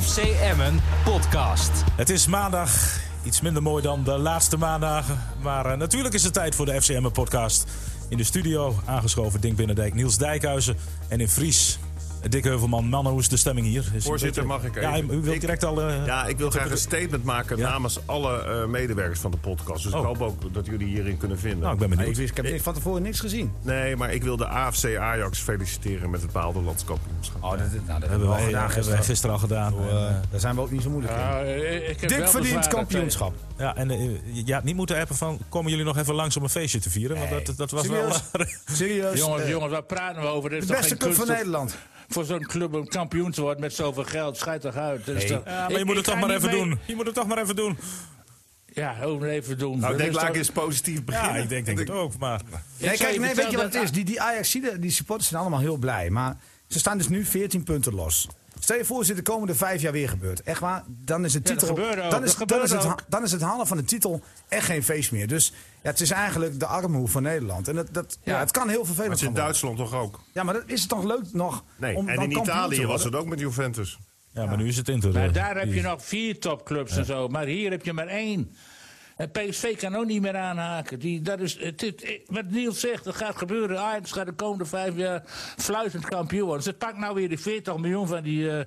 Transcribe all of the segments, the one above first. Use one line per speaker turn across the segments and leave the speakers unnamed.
FC Emmen podcast.
Het is maandag. Iets minder mooi dan de laatste maandagen. Maar eh, natuurlijk is het tijd voor de FCM podcast. In de studio aangeschoven Dink Binnendijk, Niels Dijkhuizen en in Fries. eh, Dick Heuvelman, man, hoe is de stemming hier? Is het een
Voorzitter, mag ik
Ja,
even?
u wilt
Ik-
direct al... eh,
Ja, ik wil graag een statement maken
Ja.
namens alle eh, medewerkers van de podcast. Dus
Oh.
ik hoop ook dat jullie hierin kunnen vinden.
Nou, ik ben benieuwd.
Ik, wist, ik heb van tevoren niks gezien.
Nee, maar ik wil de AFC Ajax feliciteren met het behaalde landskampioenschap.
Oh, dat, nou, dat
hebben we, al
gedaan
gedaan, hebben we gisteren al gedaan. En, eh,
daar zijn we ook niet zo moeilijk in.
Ja, eh, ik heb wel
Dik
bezwaar
verdient
dat,
kampioenschap.
ja, en eh, je je had niet moeten appen van... komen jullie nog even langs om een feestje te vieren? Want
Nee.
dat, dat was
Serieus?
wel...
eh,
Serieus.
jongens,
eh,
jongens, waar praten we over? Er is
de
toch
beste
geen
club
kunst
van
om-
Nederland.
Voor zo'n club om kampioen te worden met zoveel geld, schijt toch uit. Dat is toch-
Ja, maar
Ik-
je moet
ik
het toch
ga
maar
niet
even
mee-
doen. Je moet het toch maar even doen.
Ja, ook even doen.
Nou, ik
Dat
denk,
is
laat ik
toch-
eens positief
Ja,
beginnen.
ik denk, denk het ook, maar...
Ik
Nee,
zou
kijk, nee, weet je
vertellen
wat het is? Die, die Ajax, die, die supporters zijn allemaal heel blij. Maar ze staan dus nu 14 punten los. Stel je voor, als dit de komende vijf jaar weer gebeurt. Echt waar? Dan is de
dat
titel.
gebeurt ook,
dan, is,
dat
dan,
gebeurt
is het, ha-
ook.
dan is het halen van de titel echt geen feest meer. Dus ja, het is eigenlijk de armhoe van Nederland. En dat, dat, ja.
Ja.
het kan heel
Maar
vervelend
het is in
zijn.
Duitsland toch ook?
Ja, maar dat is het toch leuk nog?
Nee,
om
en
dan
in
kampioen te
Italië was
worden?
het ook met Juventus.
Ja, maar nu is het Inter.
Maar
eh,
daar heb
die-
je nog vier topclubs en zo, maar hier heb je maar één. En PSV kan ook niet meer aanhaken. Die, dat is, het, is- eh, wat Niels zegt, dat gaat gebeuren. Ajax gaat de komende vijf jaar fluitend kampioen worden. Ze pakt nou weer die 40 miljoen van die eh,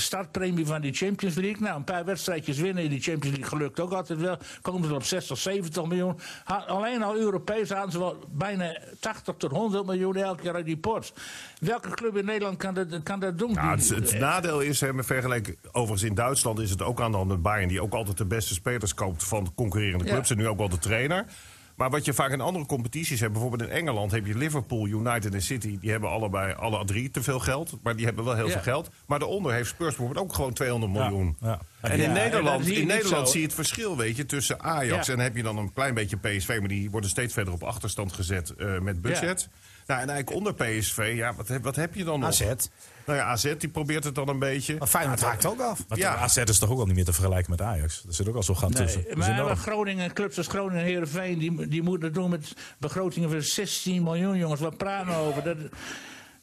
startpremie van die Champions League. Nou, een paar wedstrijdjes winnen in die Champions League gelukt ook altijd wel. Komen ze op 60, 70 miljoen. Ha- alleen al Europees aan ze wel bijna 80 tot 100 miljoen elk jaar uit die pot. Welke club in Nederland kan dat, kan dat doen?
Ja,
Die-
het, het nadeel is, hè, met vergelijking, overigens in Duitsland is het ook aan de hand met Bayern... die ook altijd de beste spelers koopt van concurrerende
Ja.
clubs en nu ook wel de trainer. Maar wat je vaak in andere competities hebt, bijvoorbeeld in Engeland... heb je Liverpool, United en City, die hebben allebei alle drie te veel geld. Maar die hebben wel heel
Ja.
veel geld. Maar daaronder heeft Spurs bijvoorbeeld ook gewoon 200 miljoen.
ja.
En
Ja,
in
en dat
Nederland,
zie je
in
niet
Nederland
zo.
zie je het verschil, weet je, tussen Ajax...
Ja.
en dan heb je dan een klein beetje PSV... maar die worden steeds verder op achterstand gezet eh, met budget... Nou, en eigenlijk onder PSV, ja, wat, heb, wat heb je dan nog?
AZ.
Nou ja, AZ die probeert het dan een beetje.
Maar Feyenoord haakt ook af.
Maar
Ja.
ja. AZ is toch ook al niet meer te vergelijken met Ajax. Er zit ook al zo'n gat tussen. Dat is
maar
enorm.
Groningen, clubs als Groningen en Heerenveen... Die, die moeten het doen met begrotingen van 16 miljoen, jongens. Wat praten we over? Dat,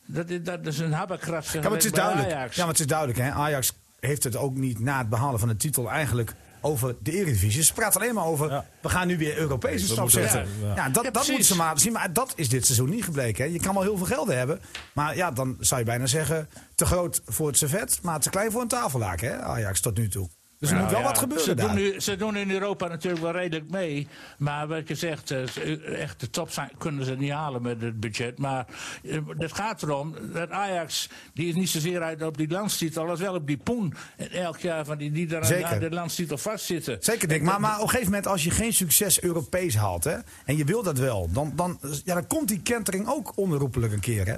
dat, is- dat is een habakras
Ja, maar het is duidelijk.
Ajax.
Ja, maar het is duidelijk. Hè? Ajax heeft het ook niet na het behalen van de titel eigenlijk over de Eredivisie. Ze praten alleen maar over,
Ja.
we gaan nu weer Europese stap
moeten-
zetten.
ja, ja.
Ja, dat,
Ja,
dat moeten
precies.
ze maar laten zien. Maar dat is dit seizoen niet gebleken. Hè? Je kan wel heel veel geld hebben. Maar ja, dan zou je bijna zeggen, te groot voor het servet, maar te klein voor een tafellaken. Hè? Ajax tot nu toe. Dus er
Nou
moet wel
Ja,
wat gebeuren
ze
daar.
Doen nu, ze doen in Europa natuurlijk wel redelijk mee. Maar wat je zegt, eh, ze- echt de top zijn, kunnen ze niet halen met het budget. Maar eh, het gaat erom dat Ajax, die is niet zozeer uit op die landstitel... als wel op die poen eh, elk jaar van die, die daar aan-
Zeker.
aan de landstitel vastzitten.
Zeker, Dick. Maar, maar op een gegeven moment, als je geen succes Europees haalt... Hè, en je wil dat wel, dan, dan, ja, dan komt die kentering ook onherroepelijk een keer. Hè?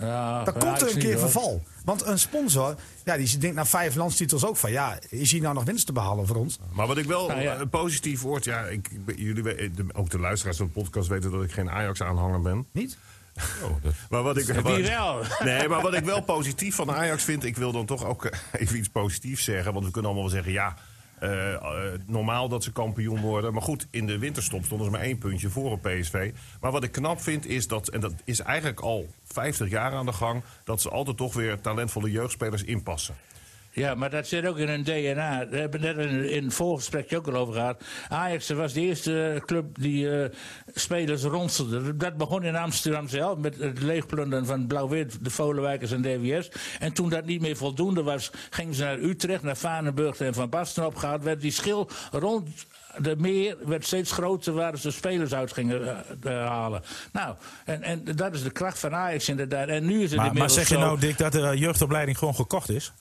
Ja,
Dan
van
komt
Ajax
er een
niet,
keer
hoor.
verval. Want een sponsor, ja, die denkt na vijf landstitels ook van... ja, is hier nou nog winst te behalen voor ons?
Maar wat ik wel
Nou ja.
eh, positief hoort, ja, ik, ik ben- jullie, we- eh, de- ook de luisteraars van de podcast weten dat ik geen Ajax-aanhanger ben.
Niet?
Maar wat ik, wat-
Wie wel?
Nee, maar wat ik wel positief van Ajax vind, ik wil dan toch ook eh, even iets positiefs zeggen. Want we kunnen allemaal wel zeggen, ja, eh, eh, normaal dat ze kampioen worden. Maar goed, in de winterstop stonden ze maar één puntje voor op PSV. Maar wat ik knap vind is dat, en dat is eigenlijk al 50 jaar aan de gang, dat ze altijd toch weer talentvolle jeugdspelers inpassen.
Ja, maar dat zit ook in hun DNA. We hebben het net in, in het voorgesprekje ook al over gehad. Ajax was de eerste eh, club die eh, spelers ronselde. Dat begon in Amsterdam zelf met het leegplunderen van Blauw-Wit, de Volenwijkers en DWS. En toen dat niet meer voldoende was, gingen ze naar Utrecht, naar Vaneburg en Van Basten opgehaald. Werd die schil rond de meer werd steeds groter waar ze spelers uit gingen eh, eh, halen. Nou, en, en dat is de kracht van Ajax inderdaad. En nu is het
Maar, maar
inmiddels
zeg je
zo-
nou, Dick, dat de jeugdopleiding gewoon gekocht is?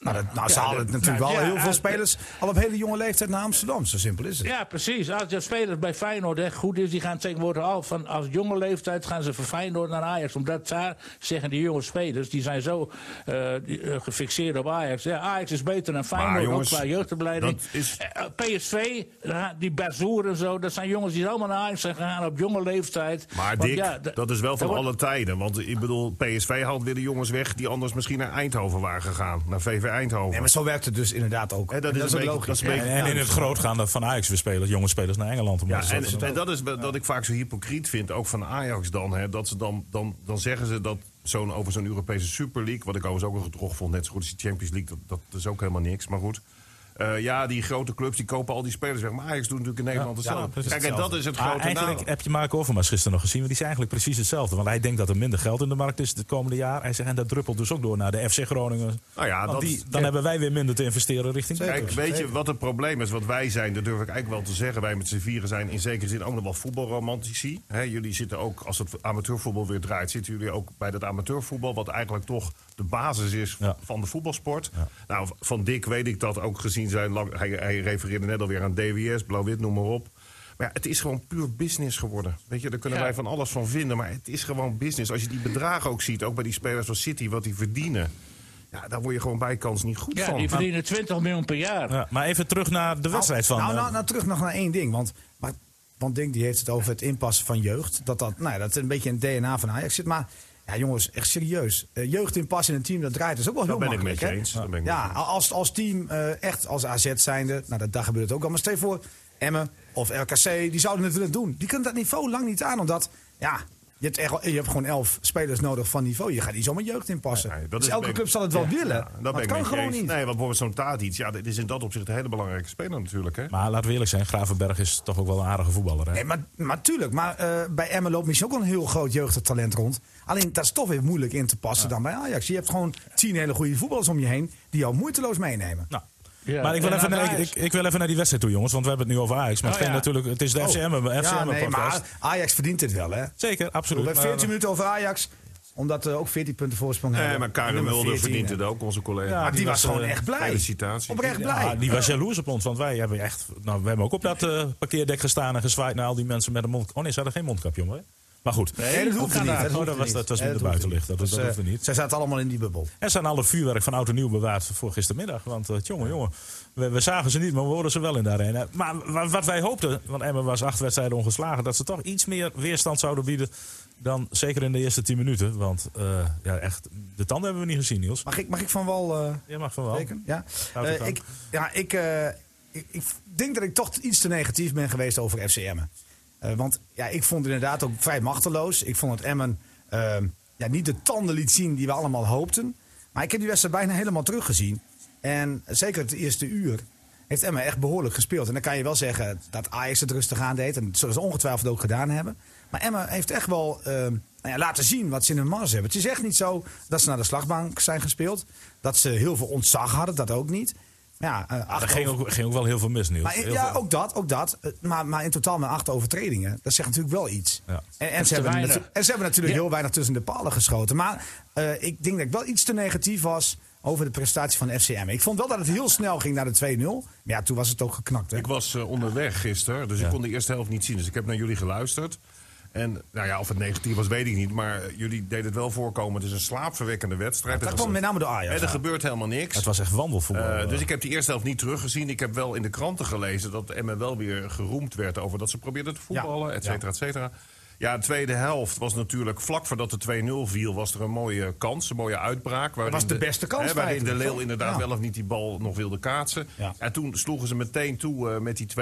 Nou, dat, nou ze halen
dat-
natuurlijk
nou,
wel
ja,
heel
eh,
veel
uit-
spelers... al op hele jonge leeftijd naar Amsterdam. Zo simpel is het.
Ja, precies. Als de speler bij Feyenoord echt goed is, die gaan tegenwoordig al van als jonge leeftijd gaan ze van Feyenoord naar Ajax. Omdat daar zeggen die jonge spelers, die zijn zo eh, die, eh, gefixeerd op Ajax. Ja, Ajax is beter dan Feyenoord,
jongens,
ook qua jeugdopleiding.
dat is-
Eh, PSV, ja, eh, die Bazoer en zo, dat zijn jongens die allemaal naar Ajax zijn gegaan op jonge leeftijd.
Maar
Want
Dick,
ja, d-
dat is wel
daar
van
wordt-
alle tijden. Want ik bedoel, PSV haalt weer de jongens weg die anders misschien naar Eindhoven waren gegaan. Naar VV Eindhoven.
Nee, maar zo werkt het dus inderdaad ook.
Hè, dat,
En
is een beetje, dat is een beetje-
En, en in het groot gaan er van Ajax weer spelers, jonge spelers naar Engeland. Om
Ja,
dat te
en,
zetten.
en dat is wat wat ik vaak zo hypocriet vind, ook van Ajax dan. Hè, dat ze dan, dan, dan zeggen ze dat zo'n, over zo'n Europese Super League... wat ik overigens ook een gedrog vond, net zo goed als die Champions League... dat, dat is ook helemaal niks, maar goed. Eh, ja, die grote clubs die kopen al die spelers weg. Maar Ajax doet natuurlijk in Nederland
Ja,
hetzelfde.
dat is
Kijk, en dat
hetzelfde.
is het
Maar
grote
Eigenlijk
nadeel.
heb je Marco Overmars gisteren nog gezien. Want die is eigenlijk precies hetzelfde. Want hij denkt dat er minder geld in de markt is het komende jaar. Hij zegt, en dat druppelt dus ook door naar de FC Groningen.
Nou ja,
Want
dat-
die, dan hebben wij weer minder te investeren richting
Kijk,
Beatles.
weet je wat het probleem is? Wat wij zijn, dat durf ik eigenlijk wel te zeggen. Wij met z'n vieren zijn in zekere zin ook nog wel voetbalromantici. Hè, jullie zitten ook, als het amateurvoetbal weer draait, zitten jullie ook bij dat amateurvoetbal, wat eigenlijk toch de basis is
Ja.
van de voetbalsport. Nou, van Dick weet ik dat ook gezien zijn. Lang, hij, hij refereerde net alweer aan DWS, Blauw-Wit, noem maar op. Maar ja, het is gewoon puur business geworden. Weet je, daar kunnen
Ja.
wij van alles van vinden. Maar het is gewoon business. Als je die bedragen ook ziet, ook bij die spelers van City, wat die verdienen. Ja, daar word je gewoon bij kans niet goed
Ja,
van.
die verdienen 20 miljoen per jaar.
Ja, maar even terug naar de wedstrijd van...
Nou,
eh,
nou, nou, terug nog naar één ding. Want, maar, want Dink die heeft het over het inpassen van jeugd. Dat dat, nou ja, dat een beetje in het DNA van Ajax zit. Maar ja, jongens, echt serieus. Eh, Jeugd inpassen in een team, dat draait dus ook wel heel
ben ik
makkelijk.
met je
hè?
eens. Dat ben ik met
ja,
je
als, als team eh, echt als AZ zijnde, nou, dat, daar gebeurt het ook al. Maar stel je voor, Emmen of RKC, die zouden het willen doen. Die kunnen dat niveau lang niet aan, omdat... Ja, je hebt, echt, wel- je hebt gewoon elf spelers nodig van niveau. Je gaat niet zomaar jeugd inpassen.
Nee, dat
dus
is-
elke
ben ik-
club zal het wel willen.
Ja, dat
maar
ben
het
ik
kan
met je
gewoon
eens.
niet.
Nee, want bijvoorbeeld zo'n Tadic, ja, dit is in dat opzicht een hele belangrijke speler natuurlijk. Hè?
Maar laten we eerlijk zijn, Gravenberg is toch ook wel een aardige voetballer. Hè?
Nee, maar, maar tuurlijk. Maar eh, bij Emmen loopt misschien ook wel een heel groot jeugdig talent rond. Alleen dat is toch weer moeilijk in te passen dan bij Ajax. Je hebt gewoon tien hele goede voetballers om je heen die jou moeiteloos meenemen.
Nou.
Ja,
maar ik wil,
en
even
aan
naar, ik,
Ajax.
ik, ik wil even naar die wedstrijd toe, jongens. Want we hebben het nu over Ajax. Maar het,
Oh,
ging
ja.
natuurlijk, het is de FCM-podcast.
Oh. ja, nee, maar Ajax verdient dit wel, hè? We
Zeker, absoluut.
hebben 14
Maar-
minuten over Ajax, omdat we ook 14 punten voorsprong hebben.
Nee, Eh, maar Karim
eh, Nummer
Mulder
14,
verdient
hè.
het ook, onze collega.
Ja,
Maar die, was
was,
gewoon
eh,
echt blij.
felicitatie.
Oprecht blij.
Ja, die was jaloers op ons, want wij hebben echt. Nou, we hebben ook op dat eh, parkeerdek gestaan en gezwaaid naar al die mensen met een mond. Oh nee, ze hadden geen mondkapje, jongen. Maar goed.
Nee, dat hoeft
kan
niet.
daar.
hoeft
Oh, dat was,
niet.
dat was
Nee,
minder
hoeft
buitenlicht. Dat,
Dus,
dat
eh,
hoefde niet.
Zij zaten allemaal in die bubbel.
Er staan alle vuurwerk van oud en nieuw bewaard voor gistermiddag. Want eh, jongen, jongen, we, we zagen ze niet, maar we hoorden ze wel in de arena. Maar wa- wat wij hoopten, want Emmen was acht wedstrijden ongeslagen... dat ze toch iets meer weerstand zouden bieden dan zeker in de eerste tien minuten. Want eh, ja, echt, de tanden hebben we niet gezien, Niels.
Mag ik, mag ik van wel... eh,
Jij mag van wel.
Zeker, ja.
Wouter
Eh,
kan.
ik, ja, ik, eh, ik, ik denk dat ik toch iets te negatief ben geweest over FC Emmen. Eh, want ja, ik vond het inderdaad ook vrij machteloos. Ik vond het Emmen eh, ja, niet de tanden liet zien die we allemaal hoopten. Maar ik heb die wedstrijd bijna helemaal teruggezien. En zeker het eerste uur heeft Emmen echt behoorlijk gespeeld. En dan kan je wel zeggen dat Ajax het rustig aan deed. En dat zullen ze ongetwijfeld ook gedaan hebben. Maar Emmen heeft echt wel eh, nou ja, laten zien wat ze in hun mars hebben. Het is echt niet zo dat ze naar de slagbank zijn gespeeld. Dat ze heel veel ontzag hadden, dat ook niet. Ja, eh,
Ah,
acht
er ging
over-
ook, ging ook wel heel veel mis, Niels.
maar in-
Heel
ja,
veel.
ook dat, ook dat. Eh, Maar, maar in totaal met acht overtredingen. Dat zegt natuurlijk wel iets.
Ja.
En, en,
Dat is
ze
te
hebben
weinig.
natu- en ze hebben natuurlijk
Ja.
heel weinig tussen de palen geschoten. Maar eh, ik denk dat ik wel iets te negatief was over de prestatie van FCM. Ik vond wel dat het heel snel ging naar de 2-0. Maar ja, toen was het ook geknakt. Hè?
Ik was eh, onderweg gisteren, dus ik kon de eerste helft niet zien. Dus ik heb naar jullie geluisterd. En nou ja, of het negatief was, weet ik niet. Maar eh, jullie deden het wel voorkomen. Het is een slaapverwekkende wedstrijd.
dat
Er
kwam
was-
met name door
Hè,
Ajax.
Er gebeurt helemaal
Het
niks.
was echt wandelvoetbal.
Eh,
eh.
dus ik heb die eerste helft niet teruggezien. Ik heb wel in de kranten gelezen dat Emmen wel weer geroemd werd over dat ze probeerden te voetballen, et cetera, et cetera. Ja, de tweede helft was natuurlijk vlak voordat de 2-0 viel, was er een mooie kans, een mooie uitbraak. waarin
was de beste kans
hè, waarin de
eigenlijk,
Leeuw inderdaad
Ja.
wel of niet die bal nog wilde kaatsen.
Ja.
En toen sloegen ze meteen toe eh, met die 2-0.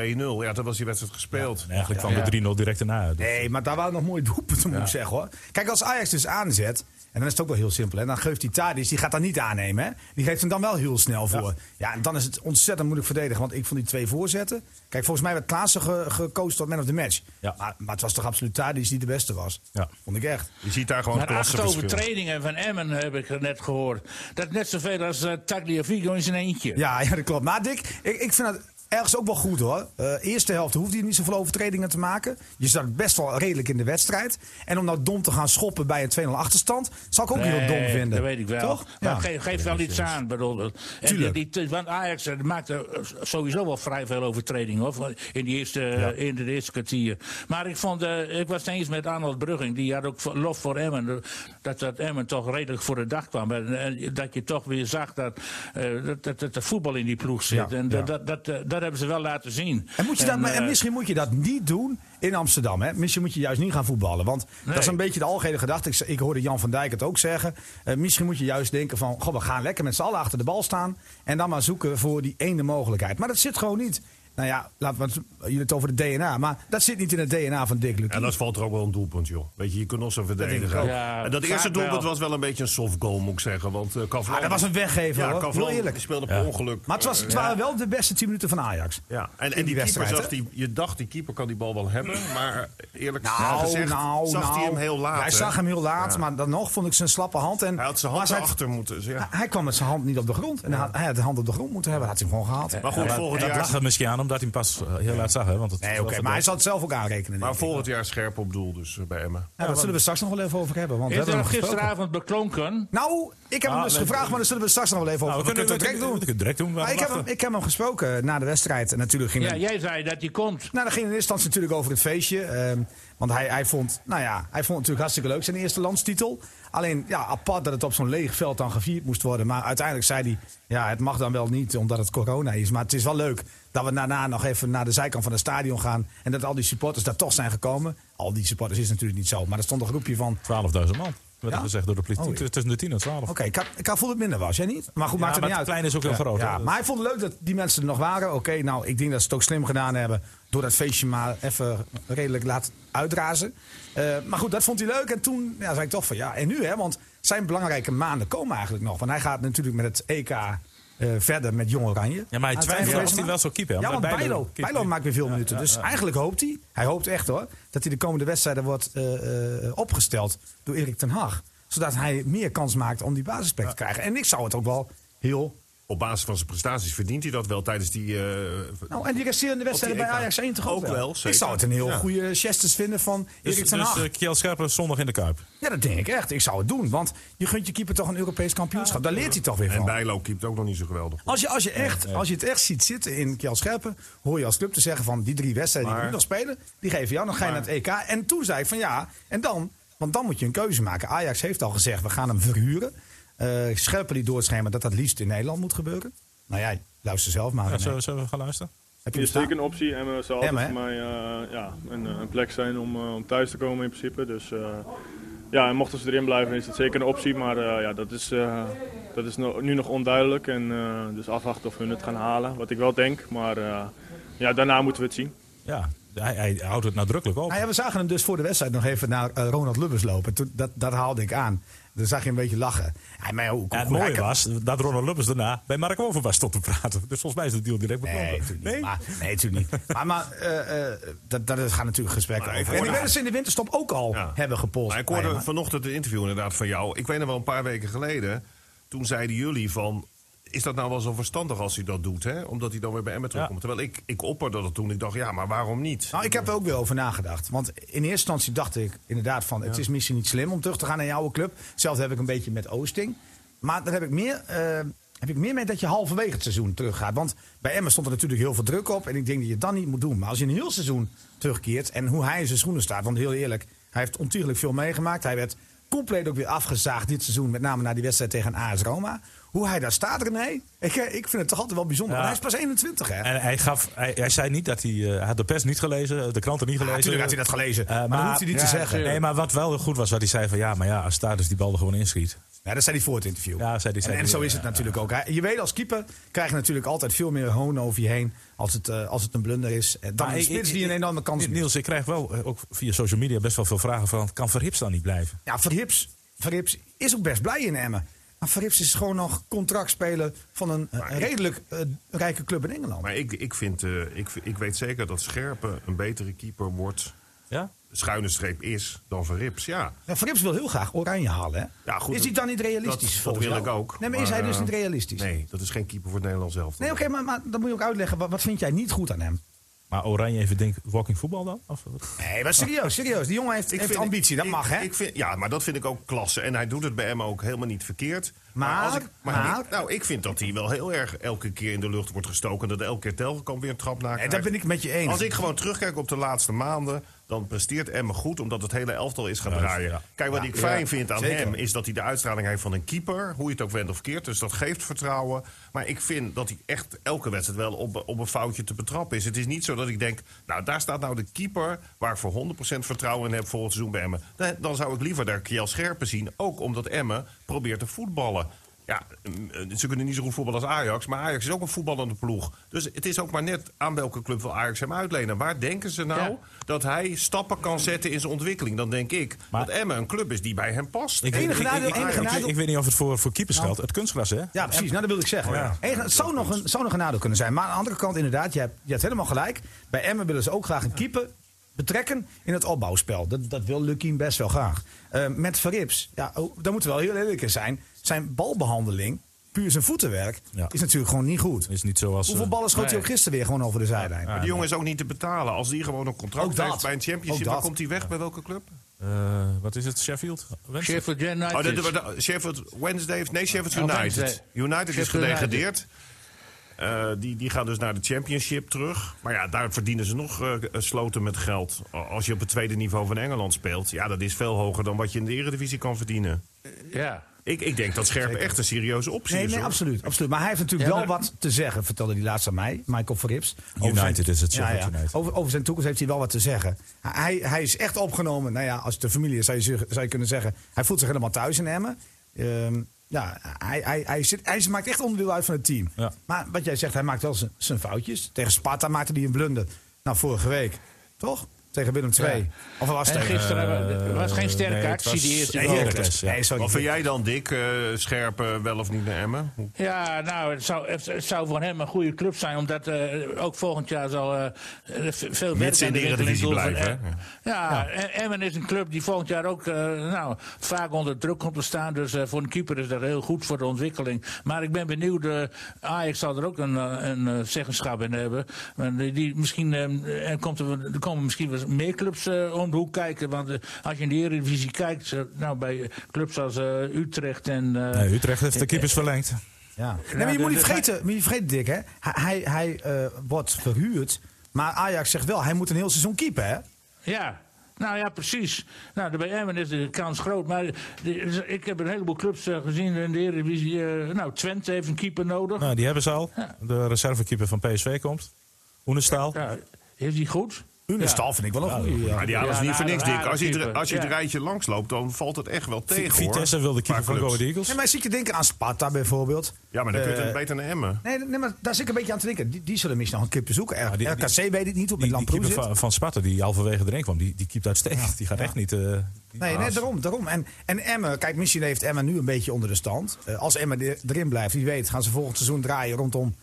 Ja, dat was die wedstrijd gespeeld.
En eigenlijk kwam de 3-0 direct erna. Dus.
Nee, maar daar waren nog mooie doelpunten, moet ik zeggen hoor. Kijk, als Ajax dus aanzet, en dan is het ook wel heel simpel. En dan geeft die Tadic, die gaat dat niet aannemen. Hè? Die geeft hem dan wel heel snel voor. Ja. en dan is het ontzettend moeilijk verdedigen. Want ik vond die twee voorzetten. Kijk, volgens mij werd Klaassen ge- gekozen tot man of the match.
Ja.
Maar, maar het was toch absoluut Tadic die de beste was?
Ja.
Vond ik echt.
Je ziet daar gewoon
Maar acht
klasseverschil.
overtredingen van Emmen heb ik net gehoord. Dat is net zoveel als eh, Tagliafico in zijn eentje.
Ja, ja, dat klopt. Maar Dick, ik, ik vind dat ergens ook wel goed hoor. Eh, eerste helft hoeft hij niet zoveel overtredingen te maken. Je zat best wel redelijk in de wedstrijd. En om nou dom te gaan schoppen bij een 2-0 achterstand, zou ik ook heel dom
Nee,
vinden.
Dat weet ik wel.
Toch?
Maar
Ja.
geef, geef wel iets aan. Bedoel. En
Tuurlijk.
die- die- want Ajax eh, maakte eh, sowieso wel vrij veel overtredingen hoor, van- in, die eerste, eh, in de eerste kwartier. Maar ik, vond, eh, ik was het eens met Arnold Brugging. Die had ook voor- lof voor Emmen. eh, Dat, dat Emmen toch redelijk voor de dag kwam. En, en dat je toch weer zag dat, eh, dat, dat, dat er voetbal in die ploeg zit.
Ja,
en dat,
ja.
dat, dat, eh, dat, dat hebben ze wel laten zien.
En, moet je dat, maar- en
eh,
misschien moet je dat niet doen in Amsterdam. Hè? Misschien moet je juist niet gaan voetballen. Want dat is een beetje de algehele gedachte. Ik, z- ik hoorde Jan van Dijk het ook zeggen. Eh, misschien moet je juist denken van... Goh, we gaan lekker met z'n allen achter de bal staan. En dan maar zoeken voor die ene mogelijkheid. Maar dat zit gewoon niet. Nou ja, laten we het, jullie het over het DNA. Maar dat zit niet in het DNA van Dick Lukien.
En dat valt er ook wel een doelpunt, joh. Weet je, je kunt ons een
ik
verdediger.
ook.
Ja,
en dat
vaak
eerste doelpunt
wel.
was wel een beetje een soft goal, moet ik zeggen. Want eh Kavlan,
Ah, dat was een weggever,
Ja,
hoor.
Kavlan
Heel eerlijk.
speelde per ongeluk.
Maar het, was, het
eh,
waren wel de beste 10 minuten van Ajax.
Ja, en,
die
en die, keeper
wedstrijd,
zag
hè?
die, je dacht die keeper kan die bal wel hebben, maar eh, eerlijk
Nou,
gezegd
nou,
zag hij
nou.
hem heel laat.
Hij
hè?
zag hem heel laat, maar dan nog vond ik zijn slappe hand. En
Hij had zijn
maar
hand
zij-
achter moeten. dus ja.
Hij- Hij kwam met zijn hand niet op de grond. En hij had, hij had de hand op de grond moeten hebben. Dat had hij hem gewoon gehaald.
Maar goed, volgend
Dat lag
jaar,
er misschien aan omdat hij hem pas eh, heel laat zag. Hè? Want het
Nee, oké. maar hij zal het zelf ook aanrekenen.
maar
denk ik.
volgend jaar scherp op doel dus eh, bij Emmen.
Ja, dat zullen we straks nog wel even over hebben. Want we
Is
hebben
er
hem gesproken.
gisteravond beklonken?
Nou, ik heb hem
Ah,
dus
nee,
gevraagd, maar daar zullen we straks nog wel even over
Nou, we kunnen
het
het direct doen. We kunnen het direct doen.
Maar ik heb, hem, ik heb hem gesproken na de wedstrijd. En natuurlijk ging
Ja,
het-
jij zei dat die komt.
Nou, dat ging in eerste instantie natuurlijk over het feestje. ehm, want hij, hij, vond, nou ja, hij vond het natuurlijk hartstikke leuk zijn eerste landstitel. Alleen ja, apart dat het op zo'n leeg veld dan gevierd moest worden. Maar uiteindelijk zei hij, ja, het mag dan wel niet omdat het corona is. Maar het is wel leuk dat we daarna nog even naar de zijkant van het stadion gaan. En dat al die supporters daar toch zijn gekomen. Al die supporters is natuurlijk niet zo. Maar er stond een groepje van,
12.000 man. Werd
Ja?
er gezegd door de politie.
Oh, ja.
T- Tussen de 10 en 12.
oké, ik, had- ik had voel het minder was, jij niet? Maar goed,
Ja,
maakt
maar
het niet uit.
het kleine is ook heel
Ja,
groot,
Ja,
hè?
maar hij vond het leuk dat die mensen er nog waren. Oké, nou, ik denk dat ze het ook slim gedaan hebben. Door dat feestje maar even redelijk laten uitrazen. Eh, maar goed, dat vond hij leuk. En toen ja, zei ik toch van ja, en nu hè? Want zijn belangrijke maanden komen eigenlijk nog. Want hij gaat natuurlijk met het EK eh, verder met Jong Oranje.
Ja, maar hij
Aan het
twijfelt
eind
of
van
hij wel
deze
zou keeper, hè?
maand. Ja, want
Maar Bijlo
Bijlo,
keept
Bijlo
niet.
maakt weer veel minuten. Dus eigenlijk hoopt hij, hij hoopt echt hoor, dat hij de komende wedstrijden wordt eh, eh, opgesteld door Erik ten Hag. Zodat hij meer kans maakt om die basisplek te krijgen. En ik zou het ook wel heel...
Op basis van zijn prestaties verdient hij dat wel tijdens die... eh,
Nou, en die resterende wedstrijden
die
bij
EK.
Ajax 1 toch ook,
Ook wel,
ik
zeker.
zou het een heel
Ja.
goede Chesters vinden van
Dus,
Erik ten
dus
Hag.
eh, Kjell Scherpen zondag in de Kuip.
ja, dat denk ik echt. Ik zou het doen. Want je gunt je keeper toch een Europees kampioenschap. Daar leert hij toch weer
en
van.
Bijlo keept ook nog niet zo geweldig.
Als je, als, je echt, als je het echt ziet zitten in Kjell Scherpen, hoor je als club te zeggen van die drie wedstrijden die
Maar-
we nu nog spelen, die geven jou, dan ga je naar het EK. En toen zei ik van ja, en dan, want dan moet je een keuze maken. Ajax heeft al gezegd, we gaan hem verhuren. Eh Scherpen die door het schema dat dat liefst in Nederland moet gebeuren. Nou ja, luister zelf maar.
Ja,
René.
zullen, we- zullen we gaan luisteren?
Heb je
Het
hem
is
staan?
zeker een optie en we zou altijd
Emmen, hè?
voor mij eh, ja, een, eh, een plek zijn om, eh, om thuis te komen in principe. Dus eh, ja, en mochten ze erin blijven is dat zeker een optie, maar eh, ja, dat is, eh, dat is no- nu nog onduidelijk. En eh, dus afwachten of hun het gaan halen, wat ik wel denk. Maar eh, ja, daarna moeten we het zien.
Ja, hij, hij houdt het nadrukkelijk op.
Nou ja, we zagen hem dus voor de wedstrijd nog even naar eh, Ronald Lubbers lopen. Toen, dat, dat haalde ik aan. Dan zag je een beetje lachen. Hij mij ook.
En het mooie was dat Ronald Lubbers daarna bij Mark Over was tot te praten. Dus volgens mij is de deal direct
Nee,
beklonken.
natuurlijk niet. Maar, nee, natuurlijk niet. Maar, maar eh, eh, dat, dat gaat natuurlijk gesprekken
Maar ik
over. En ik
hoorde-
weet dat ze in de winterstop ook al
Ja.
hebben gepolst.
Maar ik hoorde
bij hem.
vanochtend een interview inderdaad van jou. Ik weet nog wel een paar weken geleden. Toen zeiden jullie van... Is dat nou wel zo verstandig als hij dat doet? Hè? Omdat hij dan weer bij Emmen terugkomt. Terwijl ik, ik opperde dat toen. Ik dacht, ja, maar waarom niet?
Nou, ik heb er ook weer over nagedacht. Want in eerste instantie dacht ik inderdaad van... het is misschien niet slim om terug te gaan naar jouw club. Hetzelfde heb ik een beetje met Oosting. Maar daar heb ik meer, eh, heb ik meer mee dat je halverwege het seizoen teruggaat. Want bij Emmen stond er natuurlijk heel veel druk op. En ik denk dat je het dan niet moet doen. Maar als je een heel seizoen terugkeert... en hoe hij in zijn schoenen staat... want heel eerlijk, hij heeft ontiegelijk veel meegemaakt. Hij werd compleet ook weer afgezaagd dit seizoen. Met name na die wedstrijd tegen AS Roma. Hoe hij daar staat, René. Ik, ik vind het toch altijd wel bijzonder.
Ja.
Want hij is pas 21, hè?
En hij, gaf, hij, hij zei niet dat hij, eh, hij had de pers niet gelezen, de kranten niet gelezen.
natuurlijk had hij dat gelezen.
Eh,
Maar dat hoeft hij niet te
Ja,
zeggen.
Nee, maar wat wel goed was, wat hij zei van ja, maar ja, als Stadis die bal er gewoon inschiet.
Ja, dat zei hij voor het interview.
Ja, zei hij, zei
en, en
hij,
zo is
ja,
het natuurlijk ook. Hij- Je weet, als keeper krijg je natuurlijk altijd veel meer hoon over je heen als het, eh, als het een blunder is. Eh, Dan
Maar
een
ik-
spits
ik-
die een
ik-
enorme kans mist.
Niels, ik krijg wel eh, ook via social media best wel veel vragen van kan Verhips dan niet blijven?
Ja, Verhips, Verhips is ook best blij in Emmen. Maar Verhips is gewoon nog contractspeler van een eh,
ik-
redelijk eh, rijke club in Engeland.
Maar ik, ik, vind, eh, ik, ik weet zeker dat Scherpen een betere keeper wordt.
Ja?
Schuine streep is dan Verrips. Ja,
Ja, Verhips wil heel graag oranje halen. Hè?
Ja, goed,
is hij dan niet realistisch?
dat, dat
volgens
wil
jou?
ik ook.
Nee, maar is hij dus
eh,
niet realistisch?
Nee, dat is geen keeper voor het Nederlands zelf.
Nee, oké, maar, maar dan moet je ook uitleggen. Wat, wat vind jij niet goed aan hem?
Maar Oranje even denkt, walking voetbal dan? Of, wat?
Nee, maar serieus, serieus. Die jongen heeft, heeft
vind-
ambitie, dat
Nou, ik-
mag hè?
Ik vind, ja, maar dat vind ik ook klasse. En hij doet het bij Emma ook helemaal niet verkeerd.
Maar- maar-
ik, nou, ik vind dat hij wel heel erg elke keer in de lucht wordt gestoken. Dat elke keer telkens kan weer een trap naar.
Nee, dat ben ik met je eens.
Als ik gewoon terugkijk op de laatste maanden. dan presteert Emmen goed, omdat het hele elftal is gaan
Juist,
draaien.
ja.
Kijk, wat
Ja,
ik fijn
ja,
vind aan
zeker.
hem, is dat hij de uitstraling heeft van een keeper. Hoe je het ook wendt of keert, dus dat geeft vertrouwen. Maar ik vind dat hij echt elke wedstrijd wel op, op een foutje te betrappen is. Het is niet zo dat ik denk, nou, daar staat nou de keeper... waar ik voor 100% vertrouwen in heb volgend seizoen bij Emmen. Nee, dan zou ik liever daar Kiel Scherpen zien. Ook omdat Emmen probeert te voetballen. Ja, mm, eh, ze kunnen niet zo goed voetballen als Ajax. Maar Ajax is ook een voetballende ploeg. Dus het is ook maar net aan welke club wil Ajax hem uitlenen. Waar denken ze nou
Ja.
dat hij stappen kan zetten in zijn ontwikkeling? Dan denk ik
Maar-
dat Emmen een club is die bij hem past.
Ik,
Enige
ik-
nadeel-
ik- ik-
enige
ik- ik-
nadeel- Nou.
ik weet niet of het voor, voor keepers geldt. Het kunstgras, hè?
Ja, precies. Nou, dat wilde ik zeggen.
Ja.
Hey, het zou nog, een, zou nog een nadeel kunnen zijn. Maar aan de andere kant, inderdaad, je hebt, je hebt helemaal gelijk. Bij Emmen willen ze ook graag een keeper betrekken in het opbouwspel. Dat, dat wil Lukien best wel graag. Eh, met Verrips, ja, oh, daar moeten we wel heel eerlijk in zijn. Zijn balbehandeling, puur zijn voetenwerk,
Ja.
is natuurlijk gewoon niet goed.
Is niet zoals...
Hoeveel
eh,
ballen schoot hij
nee.
ook gisteren weer gewoon over de zijlijn?
Maar die jongen is ook niet te betalen. Als die gewoon een
Ook
contract
dat.
heeft bij een
Ook
championship, dan
dat.
komt hij weg bij welke club?
eh, wat is het? Sheffield? Wednesday?
Sheffield
Oh, dat- dat-
United.
dat- Sheffield Wednesday heeft... Nee, Sheffield
Oh,
United.
Wednesday.
United is
Sheffield
gedegradeerd. Eh, die, die gaan dus naar de championship terug. Maar ja, daar verdienen ze nog eh, sloten met geld. Als je op het tweede niveau van Engeland speelt... ja, dat is veel hoger dan wat je in de eredivisie kan verdienen.
Ja.
Ik, ik denk dat Scherpen echt een serieuze optie
Nee,
is.
nee
hoor.
absoluut, absoluut. Maar hij heeft natuurlijk
Ja,
wel
maar-
wat te zeggen, vertelde hij laatst aan mij, Michael Verrips.
United is het, Sheffield United.
Over, over zijn toekomst heeft hij wel wat te zeggen. Hij, hij is echt opgenomen. Nou ja, als het de familie is, zou je, zeggen- zou je kunnen zeggen... hij voelt zich helemaal thuis in Emmen. Ehm, ja, hij, hij, hij, zit, hij maakt echt onderdeel uit van het team.
Ja.
Maar wat jij zegt, hij maakt wel zijn- zijn foutjes. Tegen Sparta maakte hij een blunder. Nou, vorige week, toch? Tegen Willem II.
Ja.
Of was het
En
tegen...
gisteren
Eh,
was geen sterke
nee, het
actie
was-
die eerste
Nee,
goal.
Heracles, ja.
Nee, sorry.
Wat vind jij dan, Dick? eh, Scherpen wel of niet naar Emmen? Hoe-
Ja, nou, het zou, het, het zou voor hem een goede club zijn. Omdat eh, ook volgend jaar zal eh, er v- veel
Mits
werk aan
in de
ontwikkeling
Eredivisie
doen van
blijven,
Em- Ja, en Emmen is een club die volgend jaar ook eh, nou, vaak onder druk komt te staan. Dus eh, voor een keeper is dat heel goed voor de ontwikkeling. Maar ik ben benieuwd, eh, Ajax zal er ook een, eh, een eh, zeggenschap in hebben. Want die, die misschien, eh, er, komt er, er komen misschien wel meer clubs eh, om de hoek kijken. Want eh, als je in de Eredivisie kijkt, eh, nou, bij clubs als eh, Utrecht en... eh,
Nee, Utrecht heeft de
eh,
keepers verlengd.
Ja. Nee, maar dus je
de-
moet niet
de-
vergeten, maar je vergeet Dick, hè? Hij, hij, hij eh, wordt verhuurd. Maar Ajax zegt wel, hij moet een heel seizoen keepen, hè?
Ja. Nou ja, precies. Nou, bij Emmen is de kans groot. Maar de- ik heb een heleboel clubs eh, gezien in de Eredivisie. eh, nou, Twente heeft een keeper nodig.
Nou, die hebben ze al.
Ja.
De reservekeeper van PSV komt. Oenestaal.
Ja, is die goed?
Unestal vind ik wel een goede.
Maar die alles
Ja,
niet
nou,
voor niks,
dat
Dick. Als je,
rare
er-
type.
als je het
Ja.
rijtje langs loopt, dan valt het echt wel tegen, hoor.
Vitesse wil de keeper
Paar
van Go
clubs.
Ahead Eagles.
Nee, maar zie ik je denken aan Sparta bijvoorbeeld.
Ja, maar dan kun je het
Eh,
beter naar Emmen.
Nee, nee, maar daar zit ik een beetje aan te denken. Die, die zullen misschien nog een keeper zoeken. R-
die- die-
RKC weet het niet,
Die,
op met
die
Lamproe
keeper
zit.
van, van Sparta, die halverwege erin kwam, die, die keept uitstekend. Die gaat echt niet... eh, die-
Nee, nee, daarom, daarom. En, en Emmen, kijk, misschien heeft Emmen nu een beetje onder de stand. Eh, als Emmen er- erin blijft, wie weet, gaan ze volgend seizoen draaien rondom...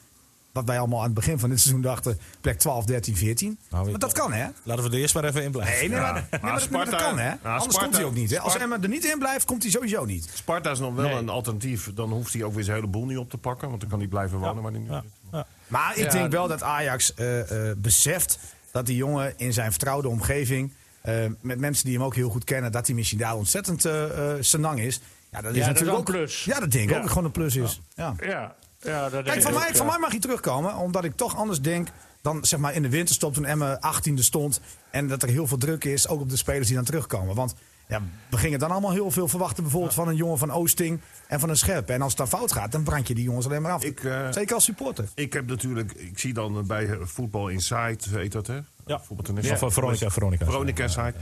wat wij allemaal aan het begin van dit seizoen dachten, plek 12, 13, 14.
Nou,
maar dat kan, hè?
Laten we er eerst maar even in blijven.
Nee, nee, maar, nee, maar dat- maar dat
Sparta-
kan, hè?
Ja,
Anders
Sparta-
komt hij ook niet, hè? Als
Sparta-
Emma er niet in blijft, komt hij sowieso niet.
Sparta is nog wel een alternatief. Dan hoeft hij ook weer zijn hele boel niet op te pakken. Want dan kan hij blijven wonen waar hij nu zit.
Maar ik
Ja,
denk wel dat Ajax eh, eh, beseft dat die jongen in zijn vertrouwde omgeving... eh, met mensen die hem ook heel goed kennen, dat hij misschien daar ontzettend eh eh, senang is. Ja, dat is
dat is
natuurlijk
wel
ook
een plus.
Ja, dat denk ik ook
Ja.
dat het gewoon een plus is. Ja.
Ja. ja dat
Kijk,
denk
van
ik
mij,
ook,
van
ja.
mij mag hij terugkomen, omdat ik toch anders denk dan zeg maar in de winterstop toen Emmen 18e stond. En dat er heel veel druk is, ook op de spelers die dan terugkomen. Want ja, we gingen dan allemaal heel veel verwachten, bijvoorbeeld van een jongen van Oosting en van een Scherp. En als het dan fout gaat, dan brand je die jongens alleen maar af.
Ik, eh,
Zeker als supporter.
Ik heb natuurlijk, ik zie dan bij eh, Voetbal Insight, heet dat hè?
Ja.
Voetbal
Ja, van eh, Veronica, Veronica.
Veronica Insight.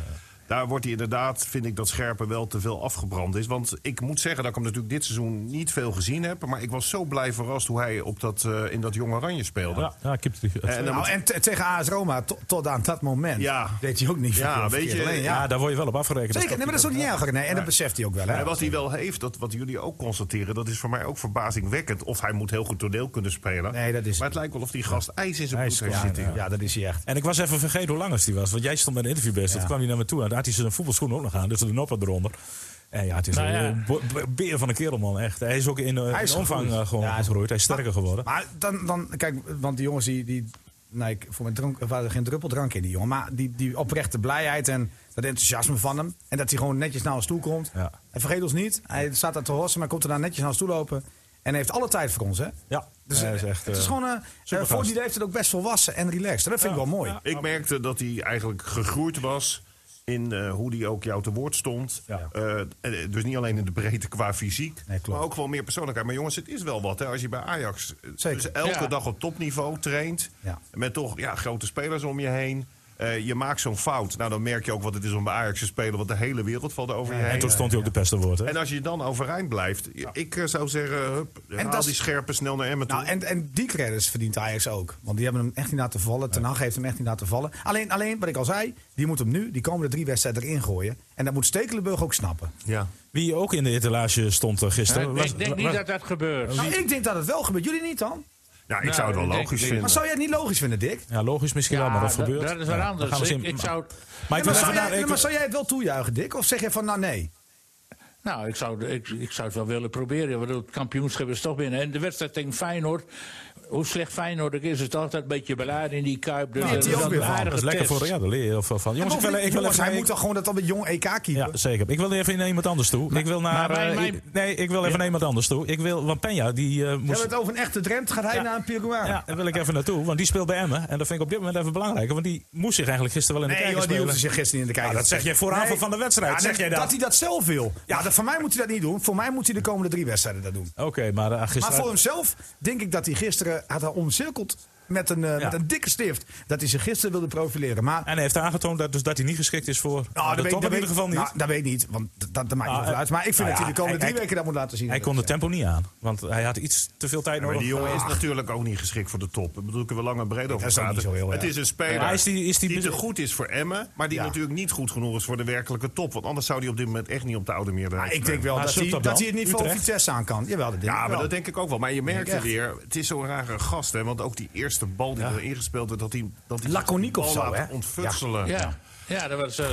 Daar wordt hij inderdaad, vind ik dat Scherpen wel te veel afgebrand is. Want ik moet zeggen dat ik hem natuurlijk dit seizoen niet veel gezien heb. Maar ik was zo blij verrast hoe hij op dat, eh, in dat Jong Oranje speelde.
Ja, ja keept die-
En dan
Nou,
moet-
en te- tegen AS Roma, to- tot aan dat moment,
Ja.
deed hij ook niet
Ja,
veel
weet
verkeerd.
je,
Alleen, ja.
ja, daar word je wel op afgerekend.
Zeker, nee, maar dat is ook niet erg. Nee, en dat beseft hij ook wel. Hè?
En wat hij wel heeft, dat wat jullie ook constateren, dat is voor mij ook verbazingwekkend. Of hij moet heel goed toneel kunnen spelen.
Nee, dat is-
maar het lijkt wel of die gast ijs in zijn
Ijs,
bloed heeft
ja,
zitten.
ja, ja, dat is hij echt.
En ik was even vergeten hoe lang die was. Want jij stond bij de interviewbest.
Ja.
Toen kwam hij naar me toe. En daar had hij zijn voetbalschoenen ook nog aan. Dus de noppen eronder. En ja, het is
Nou ja.
een eh, bo- bo- beer van een kerel, man. Echt. Hij is ook in, eh,
Hij is
in omvang
gegroeid.
eh, gewoon
Ja, hij is
gegroeid. Hij is sterker geworden.
Maar dan, dan, kijk, want die jongens die. die nee, ik, voor mijn drank er waren geen druppel drank in die jongen. Maar die, die oprechte blijheid en dat enthousiasme van hem. En dat hij gewoon netjes naar ons toe komt.
Ja.
En vergeet ons niet, hij staat daar te hossen, maar komt er dan netjes naar ons toe lopen. En heeft alle tijd voor ons, hè?
Ja,
Dus,
hij
eh,
is echt,
het is
eh,
gewoon, eh, eh,
supergast.
voor die leeftijd ook best volwassen en relaxed. En dat vind ik wel mooi.
ja.
Ik merkte dat hij eigenlijk gegroeid was in eh, hoe hij ook jou te woord stond.
Ja.
Eh, eh, dus niet alleen in de breedte qua fysiek,
Nee, klopt.
maar ook wel meer persoonlijkheid. Maar jongens, het is wel wat hè, als je bij Ajax eh,
Zeker.
dus elke
Ja.
dag op topniveau traint.
Ja.
Met toch ja, grote spelers om je heen. Eh, je maakt zo'n fout. Nou, dan merk je ook wat het is om bij Ajax te spelen. Want de hele wereld valt over je heen.
En toen stond hij ook de pest te woord, hè?
En als je dan overeind blijft, ik eh, zou zeggen, hup, en haal
dat is-
die scherpen snel naar Emmen toe.
Nou, en, en die credits verdient Ajax ook. Want die hebben hem echt niet laten vallen. Ten Hag heeft hem echt niet laten vallen. Alleen, alleen, wat ik al zei, die moet hem nu, die komende drie wedstrijden erin gooien. En dat moet Stekelenburg ook snappen.
ja.
Wie ook in de etalage stond eh, gisteren. was-
Ik denk niet
was-
dat dat gebeurt.
Nou, ik denk dat het wel gebeurt. Jullie niet dan?
ja, ik zou het wel
ik
logisch
denk- ik denk-
vinden.
Maar zou jij het niet logisch vinden, Dick?
Ja, logisch misschien wel, maar dat
dat,
gebeurt.
dat is wat
Ja,
anders.
dan gaan we
ik,
zien.
ik zou,
Maar ik wil
maar, zou
even
jij,
naar... ik-
maar zou jij het wel toejuichen, Dick? Of zeg je van, nou nee?
nou, ik zou, ik, ik zou het wel willen proberen. Want het kampioenschap is toch binnen. En de wedstrijd tegen Feyenoord. Hoe slecht Feyenoord ook is, is het altijd een beetje beladen in die kuip. Dus
Nou,
dat
die ook
is
weer
een
van.
aardige
Dat is lekker
test.
voor de ja, daar leer je heel veel van. Jongens, ik wil, ik wil
Jongens,
even...
hij
ik-
moet dan gewoon dat dan met jong E EK keeper.
ja, zeker. Ik wil even naar iemand anders toe. Ik wil naar...
maar mijn-
eh,
mijn-
ik- nee, ik wil even naar iemand anders toe. Ik wil... Want Penja, die eh,
We
moest...
hebben het over een echte Drent. Gaat hij naar een Peruaan?
Ja, daar wil ik even naartoe, want die speelt bij Emmen. En dat vind ik op dit moment even belangrijker, want die moest zich eigenlijk gisteren wel in de
Nee,
kijker
joh, die
spelen.
hoefde zich gisteren niet in de kijker.
Ja, dat
te
zeg
zetten.
je vooravond van de wedstrijd, zeg jij dat?
Dat hij dat zelf wil. Ja, dat, voor mij moet hij dat niet doen. Voor mij moet hij de komende drie wedstrijden dat doen.
Oké, maar eh,
Maar
gisteren...
voor hemzelf denk ik dat hij gisteren had hij omcirkeld met een, eh,
Ja.
met een dikke stift. Dat hij zich gisteren wilde profileren. Maar
En hij heeft aangetoond dat, dus dat hij niet geschikt is voor
nou,
de top in
weet-
ieder geval niet.
Nou, dat weet ik niet, want d- dat, dat
Nou,
maakt niet veel
eh,
uit. Maar ik vind
nou
dat
ja,
hij de komende
hij-
drie
hij-
weken dat moet laten zien.
hij
Dat
kon
ik-
het tempo niet aan, want hij had iets te veel tijd
Maar
nodig. Ah.
die jongen is natuurlijk ook niet geschikt voor de top. Ik bedoel, ik er wel lang en breed over
Oh. is ook
praten.
niet zo heel
Het
erg.
is een speler
Ja, is die- is die-
te goed is voor Emmen... maar die
Ja.
natuurlijk niet goed genoeg is voor de werkelijke top. Want anders zou die op dit moment echt niet op de oude meerderheid
Maar ik
spelen.
denk wel
Maar
dat
zoek
hij,
dat
dat
dan.
hij het niveau
Utrecht.
Vitesse aan kan. Jawel, dat
Ja,
denk ik
maar
wel.
dat denk ik ook wel. Maar je merkte
echt.
weer, het is zo'n rare gast. Hè? Want ook die eerste bal die erin gespeeld werd... dat hij dat hij
Laconiek
bal
of zo,
laat
hè?
ontfutselen.
Ja. ja, dat was eh,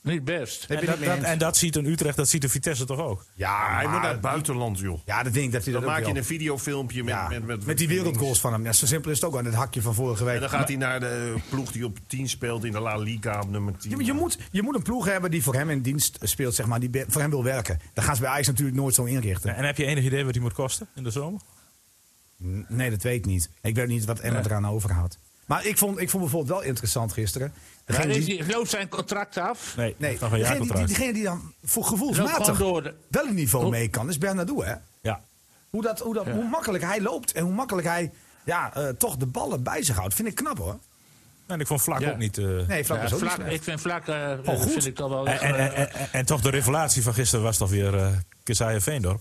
niet best.
Nee,
En
ben ik
dat,
mee
dat-
eens.
en Ah, dat ziet een Utrecht, dat ziet de Vitesse toch ook?
Ja,
Ah, Hij moet
maar-
naar het buitenland, joh.
Ja, dat denk ik dat hij dat
Dan
ook
maak je
wil.
een videofilmpje met...
Ja,
met, met,
die wereldgoals van hem. Ja, zo simpel is het ook aan het hakje van vorige week.
En dan gaat hij naar de ploeg die op 10 speelt in de La Liga op nummer 10.
Je, je, moet, je moet een ploeg hebben die voor hem in dienst speelt, zeg maar, die be- voor hem wil werken. Dat gaan ze bij Ajax natuurlijk nooit zo inrichten.
En heb je enig idee wat die moet kosten in de zomer?
N- Nee, dat weet ik niet. Ik weet niet wat Emma eraan overhoudt. Maar ik vond, ik vond bijvoorbeeld wel interessant gisteren.
Maar
Degene
is
die,
die, loopt zijn contract af?
Nee,
nee,
van een
degene, die, die-
jaarcontract.
degene die dan voor
Loopt
gevoelsmatig
gewoon door de-
wel een niveau
Hoe-
mee kan, is Bernardo. Hè?
Ja.
Hoe, dat, hoe, dat, hoe makkelijk hij loopt en hoe makkelijk hij ja, eh, toch de ballen bij zich houdt. Vind ik knap hoor.
En ik vond Vlak
Ja.
ook niet... eh,
Nee, Vlak
Ja,
is ook niet
Vlak-
slecht. Oh,
ik vind vlak, eh, dat
goed.
vind ik toch wel. eh,
en, en, en, en- en- en toch de revelatie van gisteren was toch weer eh Kesaja Veendorp.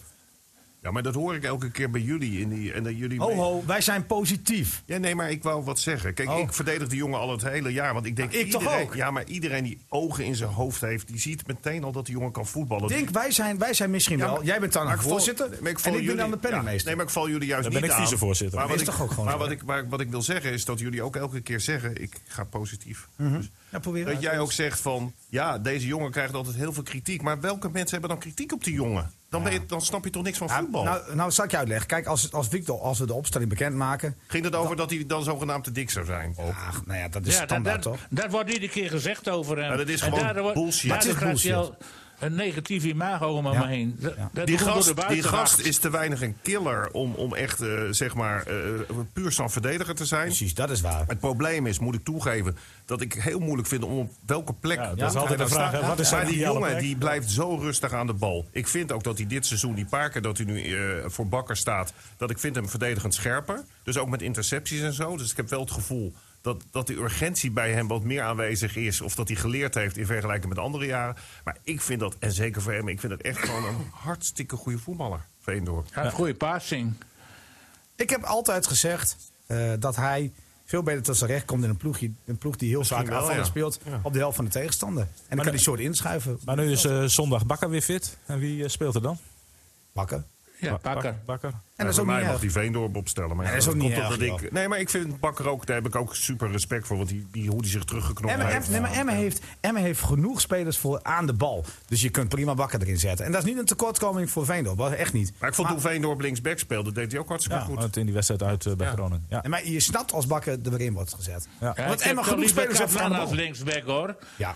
Ja, maar dat hoor ik elke keer bij jullie. In die, en dat jullie
Ho ho, wij zijn positief.
Ja, nee, maar ik wou wat zeggen. Kijk,
Oh.
ik verdedig die jongen al het hele jaar. Want ik denk,
Ik toch
iedereen,
ook?
Ja, maar iedereen die ogen in zijn hoofd heeft, die ziet meteen al dat die jongen kan voetballen.
Denk, wij zijn, wij zijn misschien
Ja,
wel. Jij bent dan
maar
een
ik val-
voorzitter.
maar
en ik
val
ben
jullie-
dan de penningmeester.
ja, nee, maar ik val jullie juist
Dan
niet
ben ik
aan.
vicevoorzitter.
Maar,
Is
wat ik,
toch ook gewoon
maar
zo,
wat,
hè?
ik, waar- wat ik wil zeggen is dat jullie ook elke keer zeggen... ik ga positief. Dus
Ja, probeer
dat
uit.
jij ook zegt van... ja, deze jongen krijgt altijd heel veel kritiek. Maar welke mensen hebben dan kritiek op die jongen? Dan, ben je, dan snap je toch niks van
Ja,
voetbal?
nou, nou, zal ik je uitleggen. Kijk, als, als Victor, als we de opstelling bekendmaken.
Ging het over dat hij dan zogenaamd te dik zou zijn?
Ach, nou ja, dat is
ja, dat,
standaard
dat,
toch?
dat wordt iedere keer gezegd over hem.
Maar dat is
En
gewoon
daardoor-
bullshit.
daardoor
Dat is
krijgt hij
bullshit.
al een negatief imago om hem
Ja.
heen. Dat-
Ja.
dat
Die
komt door de
gast, die
buitenwacht.
gast is te weinig een killer om, om echt, eh, zeg maar, eh, puur zo'n verdediger te zijn.
Precies, dat is waar.
Het probleem is, moet ik toegeven, dat ik heel moeilijk vind om op welke plek.
Ja, dat
hij
is altijd
dan
de vraag,
staat.
hè, wat is
maar
zijn
die
ideale
jongen
plek?
die blijft zo rustig aan de bal. Ik vind ook dat hij dit seizoen, die paar keer dat hij nu eh, voor bakker staat, dat ik vind hem verdedigend scherper. Dus ook met intercepties en zo. Dus ik heb wel het gevoel. Dat, dat de urgentie bij hem wat meer aanwezig is. Of dat hij geleerd heeft in vergelijking met andere jaren. Maar ik vind dat, en zeker voor hem, ik vind dat echt gewoon een hartstikke goede voetballer. Veendorp.
Hij heeft goede passing.
Ik heb altijd gezegd eh, dat hij veel beter tot zijn recht komt in een, ploegje, een ploeg die heel vaak
wel,
aanvallend
ja.
speelt. op de helft van de tegenstander. En dan kan hij soort inschuiven.
Maar nu is eh, zondag Bakker weer fit. En wie eh, speelt er dan?
pakken.
Ja, pakker.
Bakker. Bakker.
En dat is
voor
ook niet
mij mag
erg.
die Veendorp opstellen. Maar ja,
Nee, dat is ook
komt
niet
omdat
erg,
ik, Nee, maar ik vind Bakker ook, daar heb ik ook super respect voor. Want die, die, hoe die zich teruggeknopt
Emma,
heeft.
Emma- nee, maar Emma heeft, Emma heeft genoeg spelers voor aan de bal. Dus je kunt prima bakken erin zetten. En dat is niet een tekortkoming voor Veendorp. hoor, Echt niet.
Maar ik vond toen Veendorp linksback speelde, deed hij ook hartstikke
Ja,
goed.
want in die wedstrijd uit eh, bij Groningen. Ja.
En maar je snapt als bakken er weer in wordt gezet.
Ja.
Ja,
Want
ik heb
Emma
toch
genoeg
liever
spelers heeft aan
Kaplan
de
als
bal.
linksback hoor.
Ja.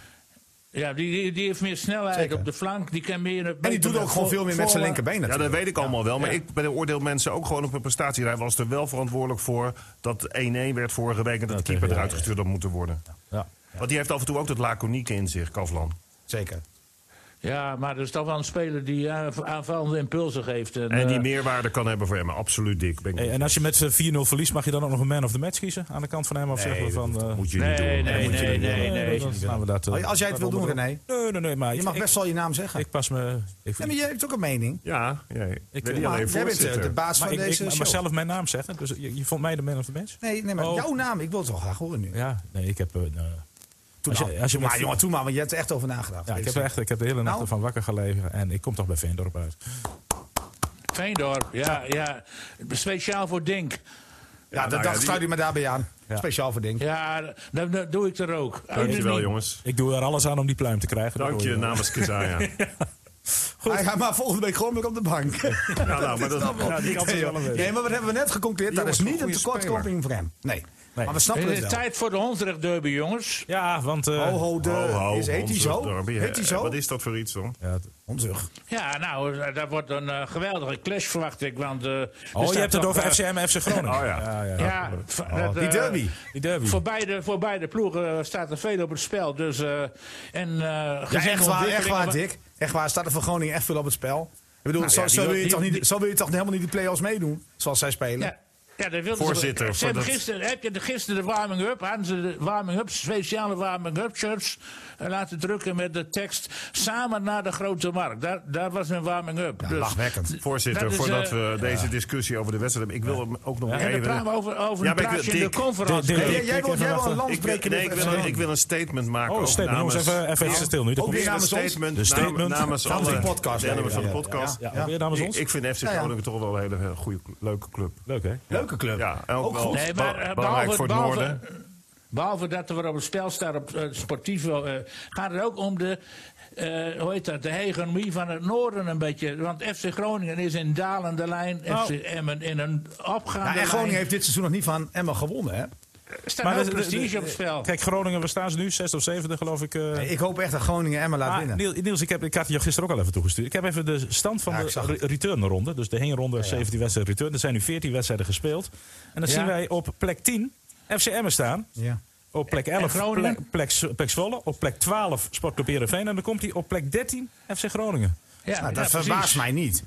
Ja, die, die, die heeft meer snelheid
Zeker.
op de flank. Die kan meer...
En die doet ook gewoon veel meer met zijn linkerbeen
Ja, dat
natuurlijk.
weet ik allemaal wel. Maar
Ja.
ik beoordeel mensen ook gewoon op hun prestatie. Hij was er wel verantwoordelijk voor dat 1-1 werd vorige week... en dat
tegen-
de keeper
ja,
eruit
ja.
gestuurd had moeten worden.
Ja.
Want die heeft af en toe ook dat laconieke in zich, Kavlan.
Zeker.
Ja, maar dat is toch wel een speler die aanv- aanvallende impulsen geeft. En,
En die
eh,
meerwaarde kan hebben voor hem. Absoluut dik. Ben ik
Hey, en als je met eh, 4-0 verliest, mag je dan ook nog een man of the match kiezen aan de kant van hem? Of zeggen we van... eh,
moet je niet
Nee,
doen.
nee,
moet je
nee,
niet
nee, nee.
dan gaan we dat, eh,
Als jij het wil doen,
daaronder
René.
doen. Nee, nee, nee, maar
Je
ik-
mag
ik-
best wel je naam zeggen.
Ik pas me... Ik,
Ja, maar jij hebt ook een mening.
Ja, nee. Ik ben
eh,
niet
Maar
alleen
jij bent eh,
voorzitter.
de baas
maar
van
ik, ik
deze
mag
show.
maar zelf mijn naam zeggen. Dus je, je vond mij de man of the match?
Nee, nee, maar
Oh.
jouw naam. Ik wil het wel graag horen nu.
Ja, nee, ik heb... eh, nou, als je, als je
maar
met-
jongen, toen maar, want je hebt er echt over nagedacht.
Ja, ik heb, er echt, ik heb de hele nacht
Nou.
ervan wakker gelegen. En ik kom toch bij Veendorp uit.
Veendorp, ja, ja. Speciaal voor Dink.
Ja, dat
nou ja,
dacht
die-
sluit ik me daarbij aan.
Ja.
Speciaal voor ding.
Ja, dat, dat doe ik er ook.
Dankjewel, jongens.
Ik doe er alles aan om die pluim te krijgen. dat
Dank
hoor
je
je wel.
namens Kizaya.
Hij gaat maar volgende week gewoon weer op de bank.
ja, nou, maar dat,
Ja, die kans is wel een beetje.
Nee, maar wat hebben we net geconcludeerd? Dat
Jongens,
is niet
een
een
goede
tekortkoming voor hem. Nee. Maar we snappen
Het
het
is
wel.
tijd voor de Hondrecht Derby, jongens.
Ja, want... eh,
Oh, Ho, ho, de,
Ho, ho,
is, heet hij
ons
zo?
dorpje, hè.
Heet hij zo?
Wat is dat voor iets dan?
ja, oh, het-
Onzug.
Ja, nou, eh, dat wordt een eh, geweldige clash, verwacht ik. Want, eh, er
Oh,
staat
je hebt het
toch,
over
eh,
FCM en FC Groningen.
Oh ja.
ja.
Ja, v- dat,
die
eh,
derby.
Die derby.
Voor beide, voor beide ploegen eh, staat er veel op het spel. Dus, eh, en, eh,
Ja,
gezien
echt waar,
ontwikkelingen
echt waar,
van-
Dick. Echt waar, staat er voor Groningen echt veel op het spel. Ik bedoel, zo,
ja, die-
zo, wil je
die-
toch
die-
niet, zo wil je toch helemaal niet de play-offs meedoen, zoals zij spelen.
Ja. Ja, dat wilden
Voorzitter,
ze, ze hebben
voor dat-
gisteren, heb je de, gisteren de warming-up, hadden ze de warming-up, speciale warming-up shirts eh, laten drukken met de tekst samen naar de grote markt. Daar, daar was een warming-up.
Ja,
Dus-
lachwekkend.
Voorzitter,
Dat is,
voordat
eh,
we deze discussie over de wedstrijd hebben... Ik wil hem ook nog
en dan
even...
praten we over, over
Ja,
een
maar ik wil-
plaatsje in de
Dick,
conference.
Dick,
League.
jij, jij wil, jij wil een
Ik wil,
landsbreker
nee, ik wil, ik wil een statement maken.
Oh,
ook
statement. Jongens,
namens-
even, even
Ja.
stil nu. Er
Ook
komt-
weer
Weer namens
namens ons.
statement,
De
nam-
statement.
namens
Namens
alle
de
podcast.
de namens van de
Ja, ja,
podcast.
Ja,
Ja.
weer namens
Ik,
ons.
ik vind FC
ja.
Groningen toch wel een hele eh, goede, leuke club.
Leuk, hè?
Leuke club.
Ja, en ook,
Ook
wel
goed.
Nee, maar
bel-
eh, behalve,
belangrijk voor het
behalve-
noorden.
behalve dat er op het spel staat op eh, het sportief, eh, gaat het ook om de, eh, hoe heet dat, de hegemonie van het noorden een beetje. Want FC Groningen is in dalende lijn,
Nou.
FC Emmen in een opgaande
Nou, en
lijn.
Groningen heeft dit seizoen nog niet van Emma gewonnen, hè?
Er staat wel
dat-
nou prestige op het spel.
Kijk, Groningen, waar staan ze nu? Zesde of zevende, geloof ik. eh.
Ik hoop echt dat Groningen Emma laat
Ah,
winnen.
Niels, Niels, ik, heb, ik had het jou gisteren ook al even toegestuurd. Ik heb even de stand van
Ja, ik
de
zag het.
re- returnronde. Dus de heenronde, 17 wedstrijden return. Er zijn nu 14 wedstrijden gespeeld. En dan
Ja.
zien wij op plek 10 FCM'en staan.
Ja.
Op plek 11
Groningen?
plek, plek, Z- plek Zwolle. Op plek 12 Sportclub Heerenveen. En dan komt hij op plek 13 FC Groningen.
Ja,
Nou,
ja,
dat
precies.
verbaast mij niet.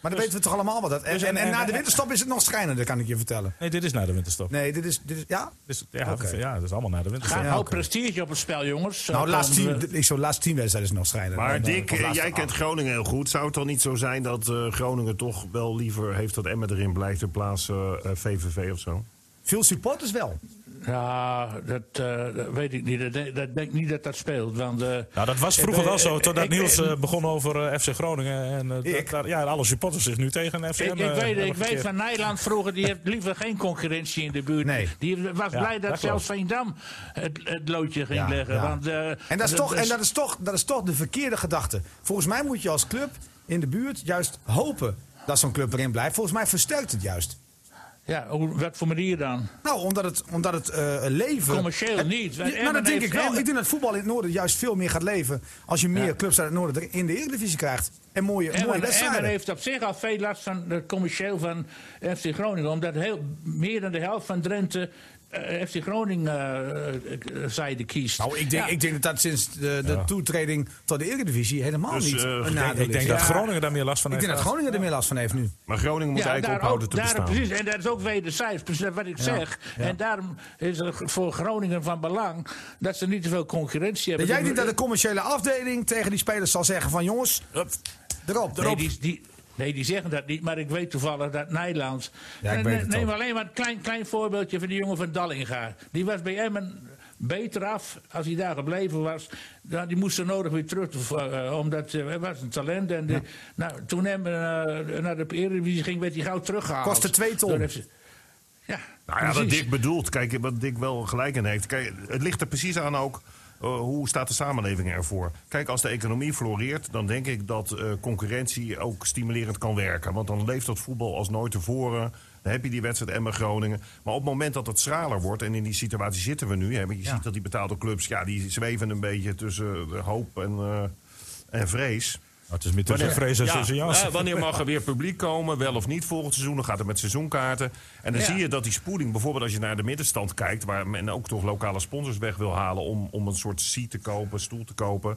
Maar dan weten we toch allemaal wat dat... En, en, en na de winterstop is het nog schrijnender, kan ik je vertellen.
Nee, dit is na de winterstop.
Nee, dit is... Dit is ja?
Dus, ja,
Oké.
ja, dat is allemaal na de
Gaat
winterstop.
ook
Ja, oké.
nou, prestige op het spel, jongens.
Nou, de laatste
Komen we-
tien, ik zo, de laatste tien wedstrijden is nog schrijnender.
Maar
Dan, eh,
Dick,
of
eh,
laatste
jij
acht.
kent Groningen heel goed. Zou het dan niet zo zijn dat eh, Groningen toch wel liever heeft dat Emmen erin blijft in plaats eh, eh, VVV of zo?
Veel supporters wel.
Ja, dat, eh, dat weet ik niet. Dat, denk- dat denk ik niet dat dat speelt. Want, eh,
Nou, dat was vroeger
ik-
wel zo,
ik-
totdat
ik-
Niels
ik-
eh, begon over eh, FC Groningen. En eh,
Ik?
dat- daar- ja, alle supporters zich nu tegen FCM.
Ik,
eh,
ik weet,
hebben
ik weet
gekeerd.
van Nederland vroeger, die heeft liever geen concurrentie in de buurt.
Nee.
Die was
Ja,
blij
dat
dat,
klopt.
zelfs Veendam het, het loodje ging
Ja,
leggen.
ja.
Want, eh,
En, dat is, toch, en
is-
dat, is toch, dat is toch de verkeerde gedachte. Volgens mij moet je als club in de buurt juist hopen dat zo'n club erin blijft. Volgens mij versterkt het juist.
ja, hoe, wat voor manier dan?
Nou, omdat het, omdat het eh, leven...
Commercieel
Het-
niet.
Ja,
Want
nou,
Emmen
dat denk ik
heeft-
wel.
Emmen-
Ik denk dat voetbal in het noorden juist veel meer gaat leven... als je meer clubs uit het noorden er in de Eredivisie krijgt. En mooie, mooie
Emmen, Emmen
wedstrijden.
heeft op zich al veel last van het commercieel van FC Groningen. Omdat heel, meer dan de helft van Drenthe eh, FC Groningen eh, eh, zijde kiest.
Nou, ik denk,
Ja.
ik denk dat dat sinds de, de toetreding tot de Eredivisie helemaal
Dus,
niet
eh, ik
een
denk-
nadeel
Ik denk
is.
dat
Ja,
Groningen daar meer last van
Ik
heeft.
denk dat Groningen er meer last van heeft nu.
Maar Groningen moet eigenlijk
daar
ophouden
ook-
te
daarom
bestaan.
Precies, en dat is ook wederzijds, precies wat ik zeg. En daarom is er voor Groningen van belang dat ze niet te veel concurrentie hebben.
En jij denkt dat de commerciële afdeling tegen die spelers zal zeggen van... jongens, erop,
Nee,
erop.
die, die, nee, die zeggen dat niet, maar ik weet toevallig dat Nederland...
Ja, ik
En,
weet
eh,
het
neem
ook.
alleen maar een klein, klein voorbeeldje van die jongen van Dallinga. Die was bij Emmen beter af als hij daar gebleven was. Dan, die moest zo nodig weer terug, te- eh, omdat eh, hij was een talent. En die- nou, toen Emmen eh, naar de Eredivisie ging, werd hij gauw teruggehaald.
Kostte twee ton.
Door FC Ja,
Nou ja, wat
precies.
Dick bedoelt, kijk, wat Dick wel gelijk in heeft. Kijk, het ligt er precies aan ook eh, hoe staat de samenleving ervoor? Kijk, als de economie floreert, dan denk ik dat eh, concurrentie ook stimulerend kan werken. Want dan leeft dat voetbal als nooit tevoren. Dan heb je die wedstrijd Emmen Groningen. Maar op het moment dat het schraler wordt, en in die situatie zitten we nu, hè, want je ziet dat die betaalde clubs, ja, die zweven een beetje tussen de hoop en, eh, en vrees.
Maar Nou, het is meer tussen vrees en tussen
Ja,
jas.
eh, wanneer mag er weer publiek komen, wel of niet volgend seizoen? Dan gaat het met seizoenkaarten. En dan zie je dat die spoeling, bijvoorbeeld als je naar de middenstand kijkt... waar men ook toch lokale sponsors weg wil halen... om, om een soort seat te kopen, stoel te kopen.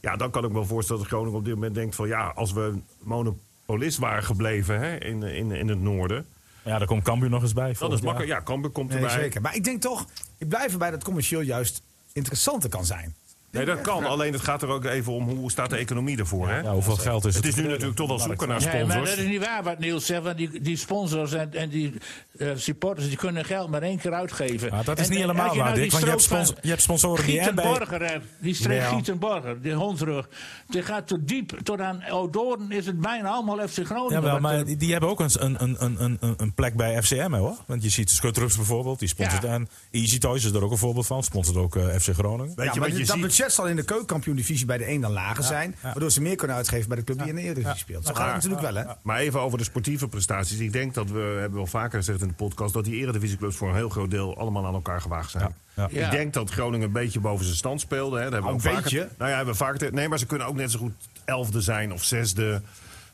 Ja, dan kan ik me wel voorstellen dat Groningen op dit moment denkt van... ja, als we monopolist waren gebleven hè, in, in, in het noorden...
Ja, daar komt Cambuur nog eens bij.
dan
volgend
is
jaar.
makkelijk. Ja, Cambuur komt
Nee,
erbij.
zeker. Maar ik denk toch, ik blijf erbij dat commercieel juist interessanter kan zijn.
Nee, dat kan. Alleen het gaat er ook even om hoe staat de economie ervoor. Hè?
Ja, hoeveel geld is het?
Het is nu natuurlijk toch wel zoeken naar
Nee, maar dat
sponsors.
is niet waar wat Niels zegt. Want die, die sponsors en, en die eh, supporters die kunnen geld maar één keer uitgeven.
Ja, dat is
En-
niet
en
helemaal
als je
waar,
nou
Dick,
die
want je hebt
strook van
spons- je hebt sponsoren die en bij-
Gietenborger hebt, die streek
Ja.
Gietenborger, die hondrug. Die gaat tot diep, tot aan Odoorn is het bijna allemaal FC Groningen.
Jawel,
wat,
maar
eh,
die, die hebben ook een, een, een, een, een- een plek bij FCM, hè, hoor. Want je ziet Schutrups bijvoorbeeld, die sponsort.
Ja.
En Easy Toys is er ook een voorbeeld van, sponsort ook eh, FC Groningen.
Weet
Ja,
je
maar
wat je
dat
ziet?
budget zal in de keukenkampioen-divisie bij de een dan lager zijn. Waardoor ze meer kunnen uitgeven bij de club die in de Eredivisie speelt. Zo gaat het natuurlijk wel, hè?
Maar even over de sportieve prestaties. Ik denk dat we, hebben wel vaker gezegd in de podcast... dat die eredivisieclubs voor een heel groot deel allemaal aan elkaar gewaagd zijn.
Ja,
ja.
Ik denk dat Groningen een beetje boven zijn stand speelde. Hè. Dat hebben we
Oh,
ook vaker-
een beetje?
Nou ja, hebben we vaker... te- Nee, maar ze kunnen ook net zo goed elfde zijn of zesde.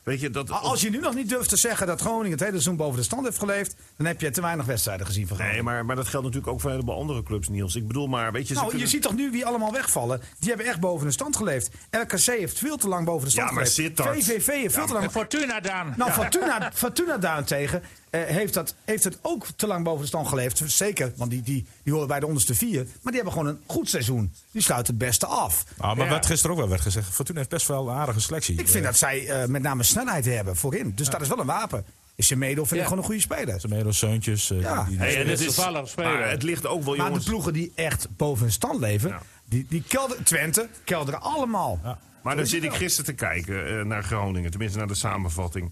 Weet je, dat...
Maar Als je nu nog niet durft te zeggen dat Groningen het hele seizoen boven de stand heeft geleefd... dan heb je te weinig wedstrijden gezien van Groningen.
Nee, maar, maar dat geldt natuurlijk ook voor een heleboel andere clubs, Niels. Ik bedoel maar, weet je... ze
Nou, je
kunnen-
ziet toch nu wie allemaal wegvallen? Die hebben echt boven de stand geleefd. RKC heeft veel te lang boven de stand
Ja, maar
geleefd.
Sittard.
VVV heeft veel te lang...
Fortuna dan.
Nou, Fortuna, Fortuna daarentegen eh, heeft, dat, heeft het ook te lang boven de stand geleefd. Zeker, want die, die, die horen bij de onderste vier. Maar die hebben gewoon een goed seizoen. Die sluiten het beste af.
Ah, maar
Ja.
wat gisteren ook wel werd gezegd, Fortuna heeft best wel een aardige selectie.
Ik vind dat zij eh, met name snelheid hebben voorin. Dus dat is wel een wapen. Is Semedo vind ik
Ja.
gewoon een goede speler.
Tomedo, Seuntjes. eh,
Ja.
die- die-
Hey, en
Dit
het
is
is
toevallig spelen.
Maar het ligt ook wel,
Maar de
jongens...
ploegen die echt boven hun stand leven...
Ja.
Die, die kelder, Twente kelderen allemaal.
Maar dan zit ik gisteren te kijken eh, naar Groningen, tenminste naar de samenvatting.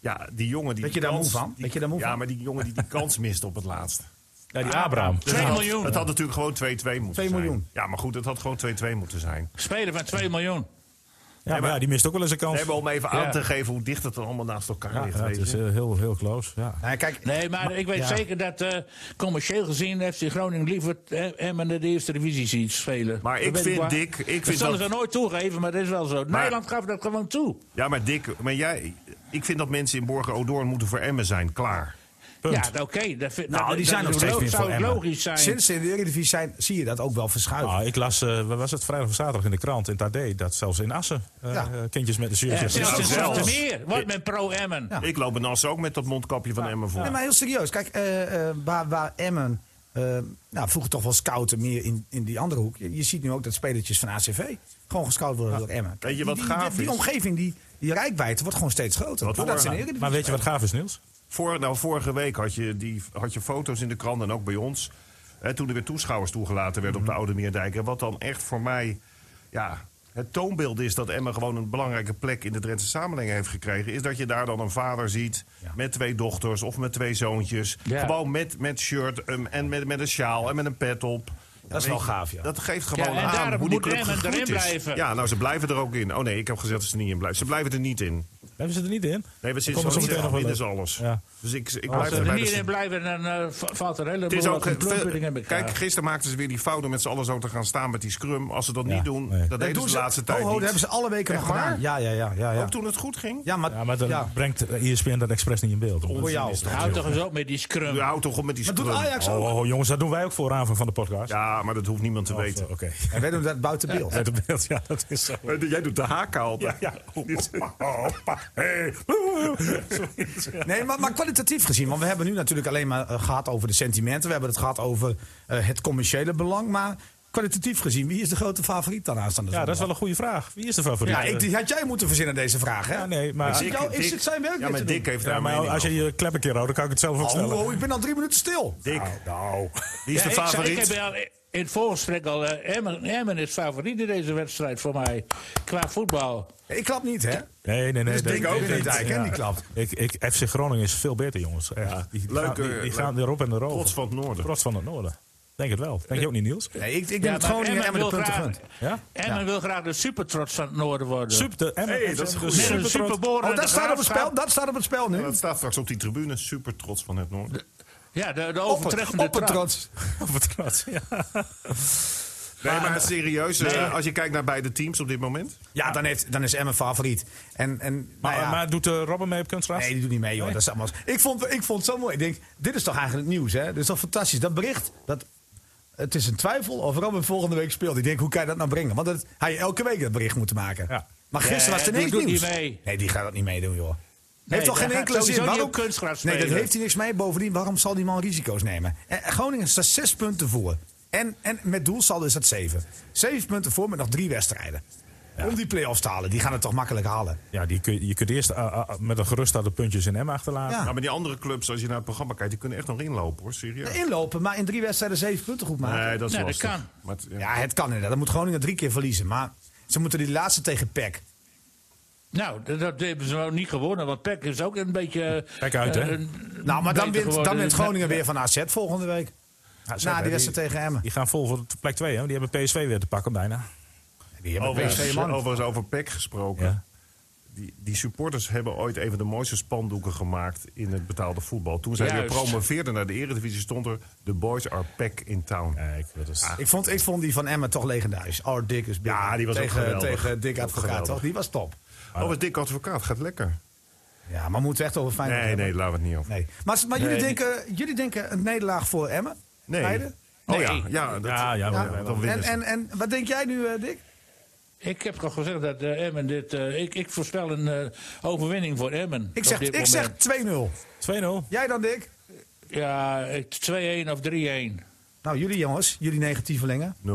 Ja, die jongen die.
Weet
die
je daar
kans-
moe van?
die-
Weet je daar moe
ja,
van?
maar die jongen die die kans mist op het laatst.
ja, die Abraham.
2 miljoen.
Het had natuurlijk gewoon 2-2 moeten
2
zijn.
miljoen.
Ja, maar goed, het had gewoon 2-2 moeten zijn.
Spelen van 2 miljoen.
Ja, maar ja, die mist ook wel eens een
We
kans.
hebben om even
Ja.
aan te geven hoe dicht het dan allemaal naast elkaar
Ja,
ligt.
ja,
weet
het
je.
is eh, heel, heel close. Ja.
Nou, kijk,
Nee, maar ik weet zeker dat eh, commercieel gezien FC Groningen liever eh, Emmen in de eerste divisie ziet spelen.
Maar ik
Dat weet
vind,
waar.
Dick, ik vind
dat zullen
dat-
ze nooit toegeven, maar dat is wel zo. Nederland gaf dat gewoon toe.
Ja, maar Dick, maar jij, ik vind dat mensen in Borgen Odoorn moeten voor Emmen zijn. Klaar.
Ja, oké. dat vind-
Nou,
dat-
die
dat
zijn
is
nog steeds
lo-
weer voor
zou het
Emmen.
logisch zijn.
sinds ze in de Eredivisie zijn, zie je dat ook wel verschuiven.
Ah, ik las, eh, wat was het, vrijdag of zaterdag in de krant, in Tadé, dat zelfs in Assen eh,
Ja.
eh, kindjes met een
Ja,
shirtje.
zelfs in
zelfs.
Zoetermeer wordt men pro-Emmen.
Ja.
Ik loop in Assen ook met dat mondkapje van Emmen voor.
Nee, maar heel serieus. Kijk, eh, eh, waar, waar Emmen eh, nou, vroeger toch wel scouten meer in, in die andere hoek. Je, je ziet nu ook dat spelertjes van ACV gewoon gescout worden door Emmen. Kijk,
Weet je
die-
wat
die,
gaaf
die, die
is?
omgeving, die, die rijkwijde wordt gewoon steeds groter.
Wat
Doordat
voor-
ze in de
Maar
Eredivisie
weet je wat gaaf is, Niels?
Voor, nou, vorige week had je, die, had je foto's in de krant en ook bij ons. Hè, toen er weer toeschouwers toegelaten werden
Mhm.
op de Oude Meerdijk. En wat dan echt voor mij ja, het toonbeeld is dat Emma gewoon een belangrijke plek in de Drentse samenleving heeft gekregen. Is dat je daar dan een vader ziet met twee dochters of met twee zoontjes.
Ja.
Gewoon met, met shirt um, en met, met een sjaal en met een pet op.
Dat
weet
is wel
je,
gaaf, ja.
Dat geeft gewoon
Ja, en
aan
daarom
hoe die
moet
club
Emmen
gegroeid
erin
is.
blijven.
Ja, nou, ze blijven er ook in. Oh nee, ik heb gezegd dat ze er niet in blijven. Ze blijven er niet in.
Hebben ze er niet in?
Nee, we
Dan
zitten
komen
zo
meteen
meteen
nog wel
winnen ze
leuk.
alles.
Ja.
Dus ik, ik
Als
blijf
ze er
erbij.
niet
dat ze-
in blijven, dan eh, va- valt er een
Het is
heleboel
ook,
wat een plumpudding in
veel-
elkaar.
kijk, gisteren maakten ze weer die fout om met z'n allen zo te gaan staan met die scrum. Als ze dat
Ja,
niet doen,
nee.
dat deden ze de laatste tijd
Oh, dat
niet.
hebben ze alle weken
Echt
nog
waar?
gedaan. Ja, ja, ja. ja, ja.
Ook toen het goed ging?
Ja, maar,
Ja, maar dan
ja.
brengt eh, ESPN dat expres niet in beeld.
voor jou.
Houd toch eens op met die scrum.
U houdt toch op met die
Maar
scrum?
doet Ajax
Oh,
ook?
oh, jongens, dat doen wij ook vooraan van- van de podcast.
Ja, maar dat hoeft niemand te
Of,
weten.
eh, Oké.
En wij doen dat buiten beeld.
Uit het beeld, ja, dat is zo.
Eh, Jij doet de haken altijd.
Ja,
Nee, maar, maar kwalitatief gezien. Want we hebben nu natuurlijk alleen maar eh, gehad over de sentimenten. We hebben het gehad over eh, het commerciële belang. Maar kwalitatief gezien, wie is de grote favoriet dan aanstaande
Ja, dat is
zondag?
wel een goede vraag. Wie is de favoriet?
Ja, ik, die had jij moeten verzinnen deze vraag, hè?
Ja, nee, maar,
Is, het jou- is
Dick-
het zijn werk
Ja,
niet
maar
te
Dick
doen?
heeft daar
ja,
een
maar
mening
als je
over.
je klep een keer houdt, dan kan ik het zelf ook
Oh,
stellen.
oh, ik ben al drie minuten stil.
Dick,
Nou,
die is de
Ja, ik, zei- ik
favoriet.
heb al in het voorgesprek al... eh, Emmen, Emmen is favoriet in deze wedstrijd voor mij. Qua voetbal.
Ik klap niet, hè?
Nee, nee, nee.
Dus Dick ook niet, hij kent die klap.
Ik, ik, FC Groningen is veel beter, jongens. Echt. Die, die
Leuk,
gaan, die,
eh,
die
leuk.
gaan erop en erop.
Trots van het noorden.
Trots van het noorden. Denk het wel. Denk je ook niet, Niels?
Nee, ik, ik denk dat
maar
Groningen
Emmen
Emmen de
wil
punten
graag-
gunt.
Ja?
Emmen wil graag de supertrots van het noorden worden.
Super, de Emmen
Hey,
FC,
dat is
dus
goed.
Met een
supertrots.
superboren.
Oh, dat staat op het spel, dat staat op het spel nu.
Dat staat straks op die tribune. Super trots van het Noorden.
Ja, de, de
Op het,
overtreffende
op het
trap.
trots.
Supertrots, ja.
Nee, maar serieus. eh, als je kijkt naar beide teams op dit moment.
Ja, dan, heeft, dan is Emmen favoriet. En, en, nou
Maar,
ja.
maar doet eh, Robben mee op kunstgras?
Nee, die doet niet mee, joh.
Nee.
Dat is allemaal... ik, vond, ik vond het zo mooi. Ik denk, dit is toch eigenlijk het nieuws, hè? Dit is toch fantastisch. Dat bericht, dat, het is een twijfel of Robin volgende week speelt. Ik denk, hoe kan je dat nou brengen? Want dat, hij elke week dat bericht moeten maken.
Ja.
Maar gisteren
Ja,
was het
die
ineens
doet
nieuws.
niet mee.
Nee, die gaat dat niet meedoen, joh.
Nee,
heeft toch
die
geen
gaat
enkele
sowieso
zin?
niet op kunstgras
nee, dat
spelen.
heeft hij niks mee. Bovendien, waarom zal die man risico's nemen? En Groningen staat zes punten voor. En, en met doelsaldo is dat zeven. Zeven punten voor met nog drie wedstrijden. Om die play-offs te halen. Die gaan het toch makkelijk halen.
Ja, die kun, je kunt eerst eh, eh, eh, met een gerust de puntjes in Emmen achterlaten.
Ja.
Nou, maar die andere clubs, als je naar het programma kijkt, die kunnen echt nog inlopen hoor. Serieus.
Inlopen, maar in drie wedstrijden zeven punten goed maken.
Nee, dat is
Nee, dat
lastig.
kan.
Maar het- ja.
Ja, het kan inderdaad. Dan moet Groningen drie keer verliezen. Maar ze moeten die laatste tegen E PEC.
Nou, dat, dat hebben ze nou niet gewonnen, want Peck is ook een beetje. eh,
Peck uit, hè?
eh, een-
Nou, maar dan
beter
wint, dan
geworden.
wint Groningen weer van AZ volgende week.
Ja, zeker.
Na die wedstrijd tegen Emmen.
Die gaan vol voor de plek 2, hè? Die hebben PSV weer te pakken bijna.
Die hebben
Overigens,
PSV, man.
overigens over PEC gesproken.
Ja.
Die, die supporters hebben ooit een van de mooiste spandoeken gemaakt in het betaalde voetbal. Toen zij weer
Juist.
promoveerden naar de Eredivisie stond er... The boys are PEC in town.
Kijk, dat is...
Ik vond, ik vond die van Emmen toch legendarisch. Our Dick is big.
Ja, die was ook
tegen,
geweldig.
tegen Dick
Ook
Advocaat,
geweldig.
toch? Die was top.
Oh, wat dik advocaat. Gaat lekker.
Ja, maar moeten we echt over Feyenoord
Nee,
hebben?
nee, laten we het niet over.
nee. Maar, maar jullie, denken, jullie denken een nederlaag voor Emmen? Beide?
Oh
Nee.
ja, ja, dat,
Ja, ja,
dan
ja,
dan
En,
winnen ze.
en, en wat denk jij nu, eh, Dick?
Ik heb al gezegd dat eh, Emmen dit. eh, ik, ik voorspel een eh, overwinning voor Emmen.
Ik
op
zeg,
dit
ik zeg
moment.
2-0.
2-0.
Jij dan, Dick?
Ja, ik- 2-1 of 3-1.
Nou, jullie jongens, jullie negatievelingen.
0-0.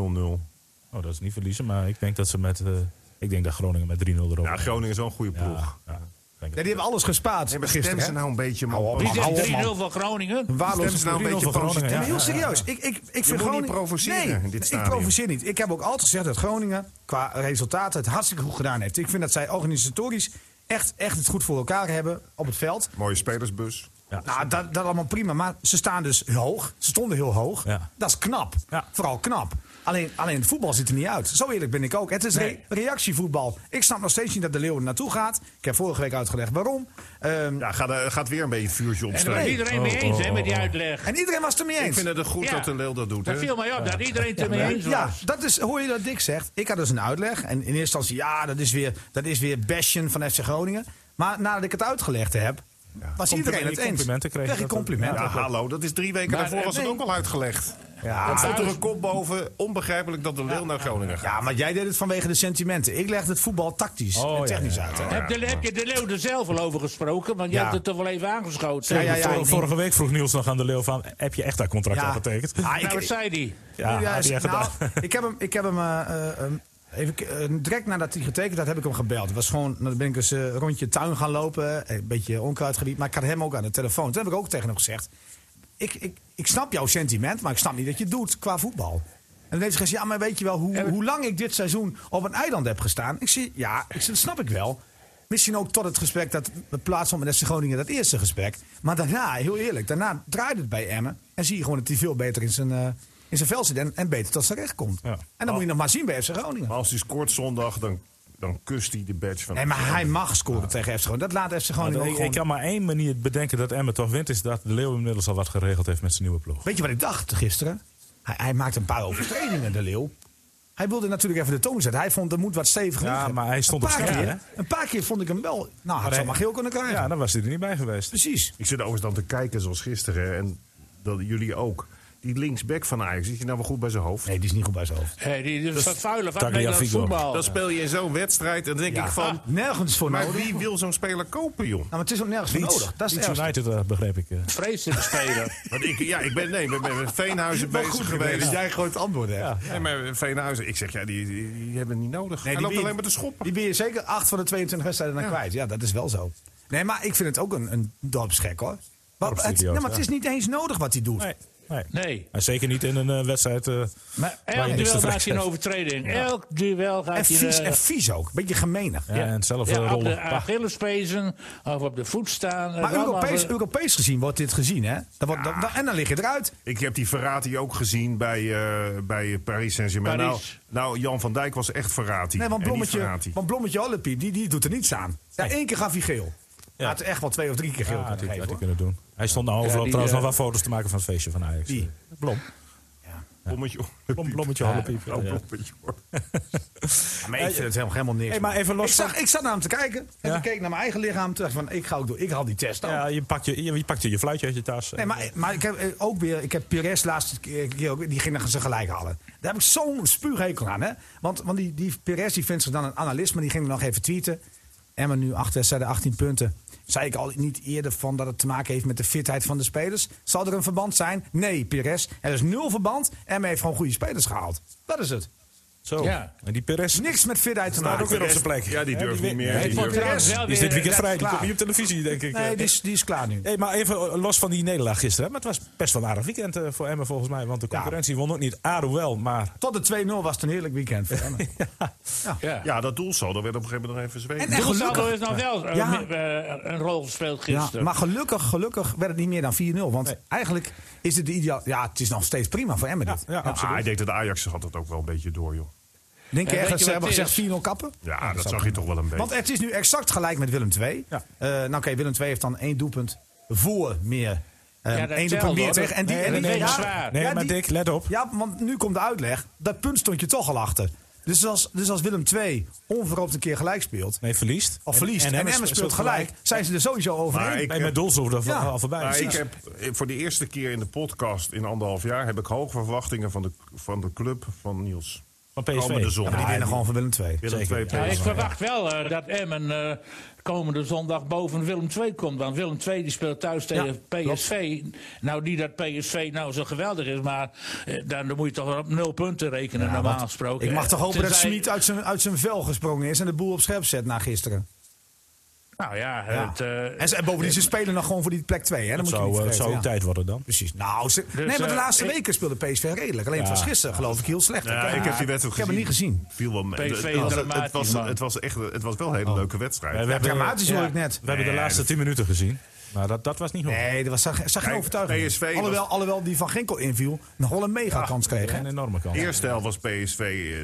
Oh, dat is niet verliezen, maar ik denk dat ze met... eh, ik denk dat Groningen met 3-0 erop.
Ja, Groningen is wel een goede
Ja,
ploeg.
ja, denk het.
Ja, die hebben alles gespaard
Hebben
gisteren,
stem ze
hè?
nou een beetje, man.
Hou op,
Wie
man.
zegt 3-0
man.
voor Groningen?
Een waardeloze
Stem ze nou een
Groningen
beetje
voor Groningen,
positief.
ja.
Ja, maar heel serieus. Ik, ik, ik vind
moet
Groningen...
niet provoceren
nee,
in dit
nee, ik
stadium.
provoceer niet. Ik heb ook altijd gezegd dat Groningen qua resultaten het hartstikke goed gedaan heeft. Ik vind dat zij organisatorisch echt, echt het goed voor elkaar hebben op het veld.
Mooie spelersbus.
nou, dat, dat allemaal prima. Maar ze staan dus hoog. Ze stonden heel hoog.
Ja.
Dat is knap.
Ja.
Vooral knap. Alleen, alleen het voetbal ziet er niet uit. Zo eerlijk ben ik ook. Het is re- reactievoetbal. Ik snap nog steeds niet dat de Leeuwen naartoe gaat. Ik heb vorige week uitgelegd waarom. Ehm,
Ja, gaat, eh, gaat weer een beetje vuurtje
En daar
opsteken.
was
Nee.
iedereen mee eens hè, met die uitleg.
En iedereen was het er mee eens.
Ik vind het goed
Ja.
dat de Leeuw dat doet.
Dat
hè?
viel mij op, dat iedereen het ermee eens was.
Ja, dat is, hoor je dat Dick zegt? Ik had dus een uitleg. En in eerste instantie, ja, dat is weer, dat is weer bashen van FC Groningen. Maar nadat ik het uitgelegd heb, was iedereen het eens.
complimenten kreeg je
je
dat ook.
complimenten.
Ja, hallo, dat is drie weken
Maar,
daarvoor was
eh,
het
nee.
ook al uitgelegd.
Ja.
Dan stond er een kop boven, onbegrijpelijk dat de Leeuw naar Groningen gaat.
Ja, maar jij deed het vanwege de sentimenten. Ik leg het voetbal tactisch
Oh, ja,
en technisch
ja,
uit. hè?
Heb, de, heb je de Leeuw er zelf al over gesproken? Want je
Ja.
hebt het toch wel even aangeschoten.
Ja, ja, ja.
Vor-
ik-
Oh, vorige week vroeg Niels nog aan de Leeuw van... heb je echt dat contract al getekend?
Ah, ik-
Nou, wat zei die?
Ja,
Ja,
had hij echt
nou,
gedaan.
ik heb hem, ik heb hem eh, eh, ehm, even, k- eh, direct nadat hij getekend had, heb ik hem gebeld. Het was gewoon, dan ben ik eens eh, een rondje tuin gaan lopen, eh, een beetje onkruidgebied. Maar ik had hem ook aan de telefoon. Toen heb ik ook tegen hem gezegd, ik, ik, ik snap jouw sentiment, maar ik snap niet dat je het doet qua voetbal. En dan heeft hij gezegd, ja, maar weet je wel hoe, hoe lang ik dit seizoen op een eiland heb gestaan? Ik zie, ja, ik, zeg, dat snap ik wel. Misschien ook tot het gesprek dat plaatsvond met FC Groningen, dat eerste gesprek. Maar daarna, heel eerlijk, daarna draait het bij Emmen. En zie je gewoon dat hij veel beter in zijn, eh, in zijn vel zit en, en beter tot zijn recht komt.
Ja. Oh.
En dan moet je nog maar zien bij FC Groningen.
Maar als hij scoort zondag, dan, dan kust hij de badge van...
Nee, maar hij mag scoren tegen FC Groningen. Dat laat FC Groningen ook
Ik, ik
gewoon.
kan maar één manier bedenken dat Emmen toch wint... is dat de Leeuw inmiddels al wat geregeld heeft met zijn nieuwe ploeg.
Weet je wat ik dacht gisteren? Hij, hij maakt een paar overtredingen, de Leeuw. Hij wilde natuurlijk even de toon zetten. Hij vond er moet wat stevig
Ja, maar hij stond
een
op
paar
scherp,
keer,
hè?
Een paar keer vond ik hem wel. Nou, had
hij-
hij maar geel kunnen krijgen.
Ja, nou- dan was hij er niet bij geweest.
Precies.
Ik zit overigens dan te kijken zoals gisteren. En dat jullie ook. Die linksback van Ajax, zit je nou wel goed bij zijn hoofd?
Nee, die is niet goed bij zijn hoofd.
Hey, die is wat vuile van
Tagliafico.
Nederlands voetbal.
Dan speel je in zo'n wedstrijd en dan denk ik van...
Ah, nergens voor
Maar
nodig.
wie wil zo'n speler kopen, joh?
Nou, maar het is ook nergens voor nodig. Dat is het
Leeds
ergste.
United, eh, begreep ik. eh.
Vreselijke speler.
Want ik, ja, ik ben, nee, ik ben met Veenhuizen
Maar
bezig
goed
geweest.
dat jij gewoon het antwoord hebt.
Nee, maar Veenhuizen, ik zeg, ja, die, die, die hebben het niet nodig. Hij
Nee, die
loopt
ben je-
alleen maar te schoppen.
Die ben je zeker 8 van de 22 wedstrijden dan kwijt. Ja, dat is wel zo. Nee, maar ik vind het ook een, een dorpsgek hoor. Wat, het,
Dorpsidioot,
nee, maar het
ja.
is niet eens nodig wat hij doet.
Nee. Nee.
Nee.
En zeker niet in een eh, wedstrijd. eh,
Maar
Waar je
elk
niks
duel
te
maakt hij een
vrezen
overtreding. Elk duel
En
gaat hij...
vies,
eh,
en vies ook. Beetje gemeenig.
ja, en zelf
ja,
eh,
op
rollen.
de Achillespezen of op de voet staan. eh, Het
Maar
allemaal-
Europees, Europees gezien wordt dit gezien, hè? Dan wordt, dan- dan- en dan lig je eruit.
Ik heb die Verratti ook gezien bij, eh, bij Paris Saint-Germain. Nou,
Paris.
nou, Jan van Dijk was echt Verratti.
Nee, want
en niet
Blommetje,
Verratti.
want blommetje Ollepiep, die, die doet er niets aan. Ja, één keer gaf hij geel. Hij had echt wel twee of drie keer geel
Ja, had
kunnen
hij- had
geven.
hij
hoor.
kunnen doen. Ah, Hij stond nou overal
Ja, die,
trouwens
eh,
nog wel foto's te maken van het feestje van Ajax.
Wie?
Blom.
Blommetje.
Blom blommetje, ja, piep.
Oh, Blommetje, hoor.
Maar ik vind het helemaal, helemaal niks.
Hey, maar
man.
even los
ik, zag, ik zat naar hem te kijken. En
Ja.
ik keek naar mijn eigen lichaam. Toen dacht ik van, ik ga ook door. Ik haal die test ook.
Ja, je pakt je, je, je pakt je, je fluitje uit je tas.
Nee, maar, maar ik heb eh, ook weer, ik heb Pires laatste keer ook, weer- die ging dan ze gelijk halen. Daar heb ik zo'n spuughekel aan, hè? Want, want die, die Pires die vindt zich dan een analist, maar die ging er nog even tweeten. Emma nu acht wedstrijden, 18 punten. Zei ik al niet eerder van dat het te maken heeft met de fitheid van de spelers? Zal er een verband zijn? Nee, Pires. Er is nul verband. Emma heeft gewoon goede spelers gehaald. Dat is het.
Zo.
Ja.
En die Perez
Niks met fitheid te
staat ook weer
maken.
op zijn plek.
Ja, die
Hè,
durft
win-
niet meer.
Nee,
Die
vond
durft-
het trouwens wel
Die is dit
weer-
weekend
dat-
vrij. Die
klaar.
komt niet op televisie, denk ik.
Nee, die is, die is klaar nu.
Hey, maar even eh, los van die nederlaag gisteren. hè, Maar het was best wel een aardig weekend eh, voor Emmen volgens mij. Want de concurrentie won ook niet. Aro wel, maar...
Tot de 2-0 was het een heerlijk weekend voor Emma.
Ja.
Ja, dat doel zo. Dat werd op een gegeven moment nog even
En-
zweven.
en-
Doelsaldo
gelukkig.
is nou wel eh,
Ja.
mi- eh, een rol gespeeld
Ja,
gisteren.
maar gelukkig, gelukkig werd het niet meer dan 4-0. Want eigenlijk is het de ideaal. Ja, het is nog steeds prima voor Emmen. dit.
Ja,
Ah,
absoluut.
ik denk dat Ajax had dat ook wel een beetje door, joh.
Denk je
Ja,
echt dat
weet
ze
je wat
hebben
het
gezegd 4-0 kappen?
Ja, dat, zag je toch wel een beetje.
Want het is nu exact gelijk met Willem II.
Ja.
Eh, nou, oké, Willem II heeft dan één doelpunt voor meer. Eén
Ja, dat
doelpunt
telt,
meer
hoor.
tegen. En die,
Nee,
en
dat
die-
neem ik
ja,
zwaar.
Nee,
ja,
maar
die-
Dick, let op.
Ja, want nu komt de uitleg. Dat punt stond je toch al achter. Dus als, dus als Willem II onverhoopt een keer gelijk speelt.
Nee, verliest.
Of verliest. En, Emmen speelt gelijk. Zijn ze er sowieso overheen.
Maar ik-
Nee, met Dolshoff er
Ja.
al voorbij.
Maar ik
Precies.
heb eh, voor de eerste keer in de podcast in anderhalf jaar heb ik hoge verwachtingen van de, van de club van Niels.
Van PSV.
Komende
Ja, maar die
zondag.
winnen gewoon van Willem II.
Willem
Zeker.
II
Ja, ik
PSV.
verwacht wel eh, dat Emmen eh, komende zondag boven Willem II komt. Want Willem II die speelt thuis tegen PSV. Nou, niet dat PSV nou zo geweldig is, maar eh, dan moet je toch wel op nul punten rekenen, normaal gesproken.
Ik mag toch hopen dat
Tenzij-
Smit uit zijn, uit zijn vel gesprongen is en de boel op scherp zet na gisteren.
Nou ja,
Ja.
het, eh,
en, ze, en bovendien, ze spelen nog gewoon voor die plek 2.
Het zou, eh, het zou ook tijd worden dan.
Precies. Nou, ze- nee, maar de
eh,
laatste
ik-
weken speelde PSV redelijk. Alleen het
Ja.
was gisteren, geloof ik, heel slecht.
Ja, ik heb die wedstrijd
Ik heb hem niet gezien.
Viel wel mee.
PSV
Het was- het,
dramatisch,
was,
man.
het, was echt, het was wel een hele leuke wedstrijd.
we
Ja,
hebben,
dramatisch
ja.
hoor ik net.
we hebben de
Nee,
laatste
dat-
10 minuten gezien. Maar dat, dat was niet goed.
Nee, er was, zag, zag geen
Kijk,
overtuiging.
PSV was-
alhoewel, alhoewel die van Ginkel inviel, nog wel een mega kans kreeg. hè?
Een enorme kans.
De eerste helft was PSV eh,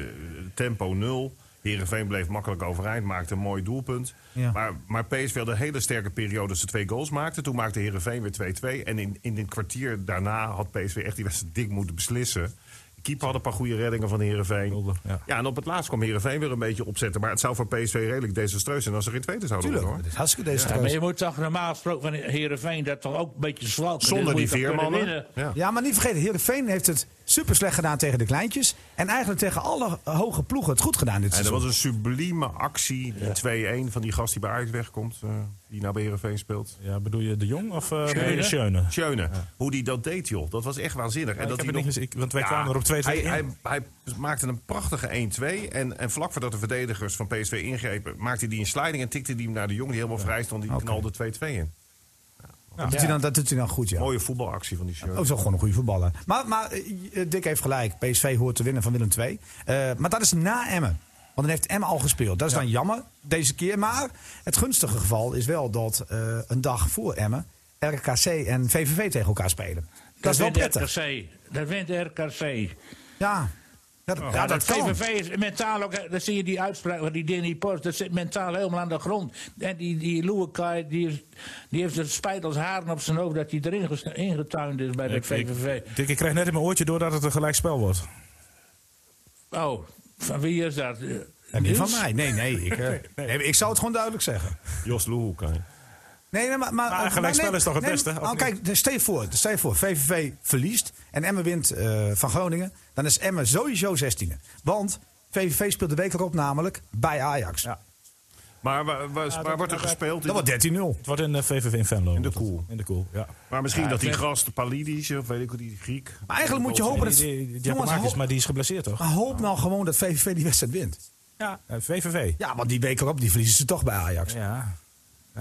tempo 0. Herenveen bleef makkelijk overeind, maakte een mooi doelpunt.
Ja.
Maar, maar PSV had een hele sterke periode dat ze twee goals maakten. Toen maakte Herenveen weer 2-2. En in, in het kwartier daarna had PSV echt die wedstrijd dik moeten beslissen. De keeper had een paar goede reddingen van Herenveen.
Mulder, ja.
Ja, en op het laatst kwam Herenveen weer een beetje opzetten. Maar het zou voor PSV redelijk desastreus zijn als ze geen tweede zouden
Tuurlijk.
worden.
Dat is hartstikke deze
ja, maar je moet toch normaal gesproken van Heerenveen dat toch ook een beetje zwalken.
Zonder
Dit moet
die
je toch kunnen
veermannen.
winnen.
Ja.
Ja, maar niet vergeten, Heerenveen heeft het super slecht gedaan tegen de kleintjes. En eigenlijk tegen alle eh, hoge ploegen het goed gedaan dit
En dat
seizoen.
was Dus een sublieme actie, die 2-1 van die gast die bij Ajax wegkomt. eh, die nou bij Herenveen speelt.
Ja, bedoel je de Jong of eh
Schöne?
nee, Schöne?
Schöne. Hoe die dat deed, joh. Dat was echt waanzinnig. en
ik
dat
heb
hij
het niet gezien, ik- want wij kwamen er op 2-2
Hij,
in.
hij, hij maakte een prachtige 1-2. En, en vlak voordat de verdedigers van PSV ingrepen, maakte hij een sliding en tikte hij hem naar de jong die helemaal vrij stond. Die knalde 2-2 in.
Dat doet hij dan- Dat doet hij dan goed, ja.
Mooie voetbalactie van die Schöne.
Ook Oh, zo gewoon een goede voetballer. Maar, maar eh, eh, Dick heeft gelijk. PSV hoort te winnen van Willem II. Eh, maar dat is na Emmen. Want dan heeft Emmen al gespeeld. Dat is dan jammer deze keer. Maar het gunstige geval is wel dat eh, een dag voor Emmen... RKC en VVV tegen elkaar spelen. Dat, is wel
wint
prettig.
RKC. Dat wint RKC.
Ja, dat, ja,
Ja,
Oh, dat
dat
kan.
VVV is mentaal ook... eh, Dan zie je die uitspraak van die Danny Post. Dat zit mentaal helemaal aan de grond. En die, die Loewekai, die, is- die heeft het spijt als haren op zijn hoofd... dat hij erin ges- ingetuind is bij de VVV.
Ik, Dick, ik krijg net in mijn oortje door dat het een gelijkspel wordt.
Oh, van wie is dat? Eh,
En niet van
Niels?
mij. Nee, nee ik, eh, nee, Ik zou het gewoon duidelijk zeggen.
Jos Loehoek. hè.
Nee, nee, maar, maar,
Maar een gelijkspel is toch het beste,
maar-
of
oh, kijk, stel je, voor, stel je voor, VVV verliest en Emmen wint eh, van Groningen. Dan is Emmen sowieso 16e. Want VVV speelt de week erop namelijk bij Ajax.
Ja.
Maar waar, waar- waar wordt er gespeeld?
Dat wordt 13-0.
Het wordt in eh, de VVV in Venlo. In
de koel.
In de koel, ja.
Maar misschien dat die gast Palidis, of weet ik hoe die Griek.
Maar eigenlijk moet je hopen
Die,
dat...
die, die
jongens,
Giacomakis,
hoop,
maar die is geblesseerd toch? Eh,
maar hoop nou gewoon dat VVV die wedstrijd wint.
Ja. VVV.
Ja, want die week erop die verliezen ze toch bij Ajax.
Ja.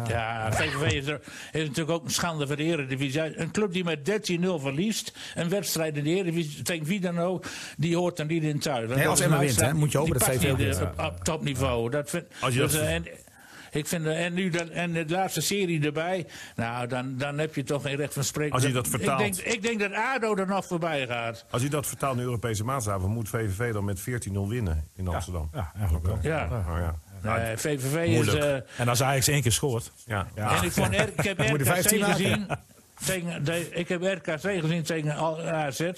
Ja, nou, VVV is, er, is natuurlijk ook een schande voor de Eredivisie. Een club die met 13-0 verliest, een wedstrijd in de Eredivisie, tegen wie dan ook, die hoort er niet in thuis.
Nee, als
is een
Emma wint,
uitslag-
hè, moet je hopen
die
dat
past
VVV
niet,
wint.
eh, Op, op topniveau. Dat vind,
Als je
dus,
dat-
eh, en, ik vind, eh, en nu dat, en de laatste serie erbij, nou, dan, dan heb je toch geen recht van spreken.
Als je dat vertaalt.
Ik denk, ik denk dat ADO er nog voorbij gaat.
Als u dat vertaalt naar Europese maatstaven, moet VVV dan met 14-0 winnen in Amsterdam.
Ja, eigenlijk wel.
Ja.
Oh, ja.
Nee, VVV is...
moeilijk.
eh,
En als Ajax één keer scoort.
Ja.
En ik, vond R, ik heb
Moet je
RKC
15 maken.
gezien. Tegen de, ik heb RKC gezien tegen Al- AZ.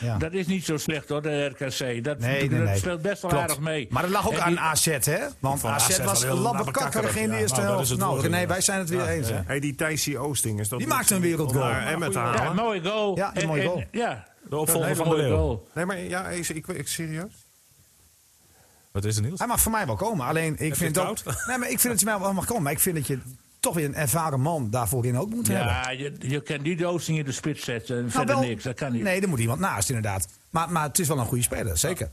Ja.
Dat is niet zo slecht hoor, de RKC. Dat,
Nee, nee,
dat
nee.
speelt best wel
Klopt.
aardig mee.
Maar dat lag ook
En
aan
die-
AZ, hè? Want
vond
AZ
AZ
was
wel heel
labbekakkerig in de
labbekakkerig,
eerste
ja. Nou, dat is
helft.
het
Nou,
woord,
nee,
ja.
wij zijn het weer eens, hè?
Hey, die Thijsie Oosting is dat
Die
niet
maakte een
zo-
wereldgoal.
om naar Emmen te halen.
Ja, mooie goal.
Ja, een
En-
mooie
en-
goal.
ja,
De opvolger
een hele
van de
mooie
Leeuw.
goal.
Nee, maar ja, ik, ik, ik serieus.
Wat is er nieuws?
Hij mag voor mij wel komen. Alleen ik vind
het
ook.
koud?
Nee, maar ik vind dat je mij wel mag komen. Maar ik vind dat je toch weer een ervaren man daarvoor in ook moet hebben.
Ja, je, je kan die doosing in de spits zetten en
Nou,
verder
wel-
niks. Dat kan niet.
Nee, er moet iemand naast, inderdaad. Maar, maar het is wel een goede speler, zeker.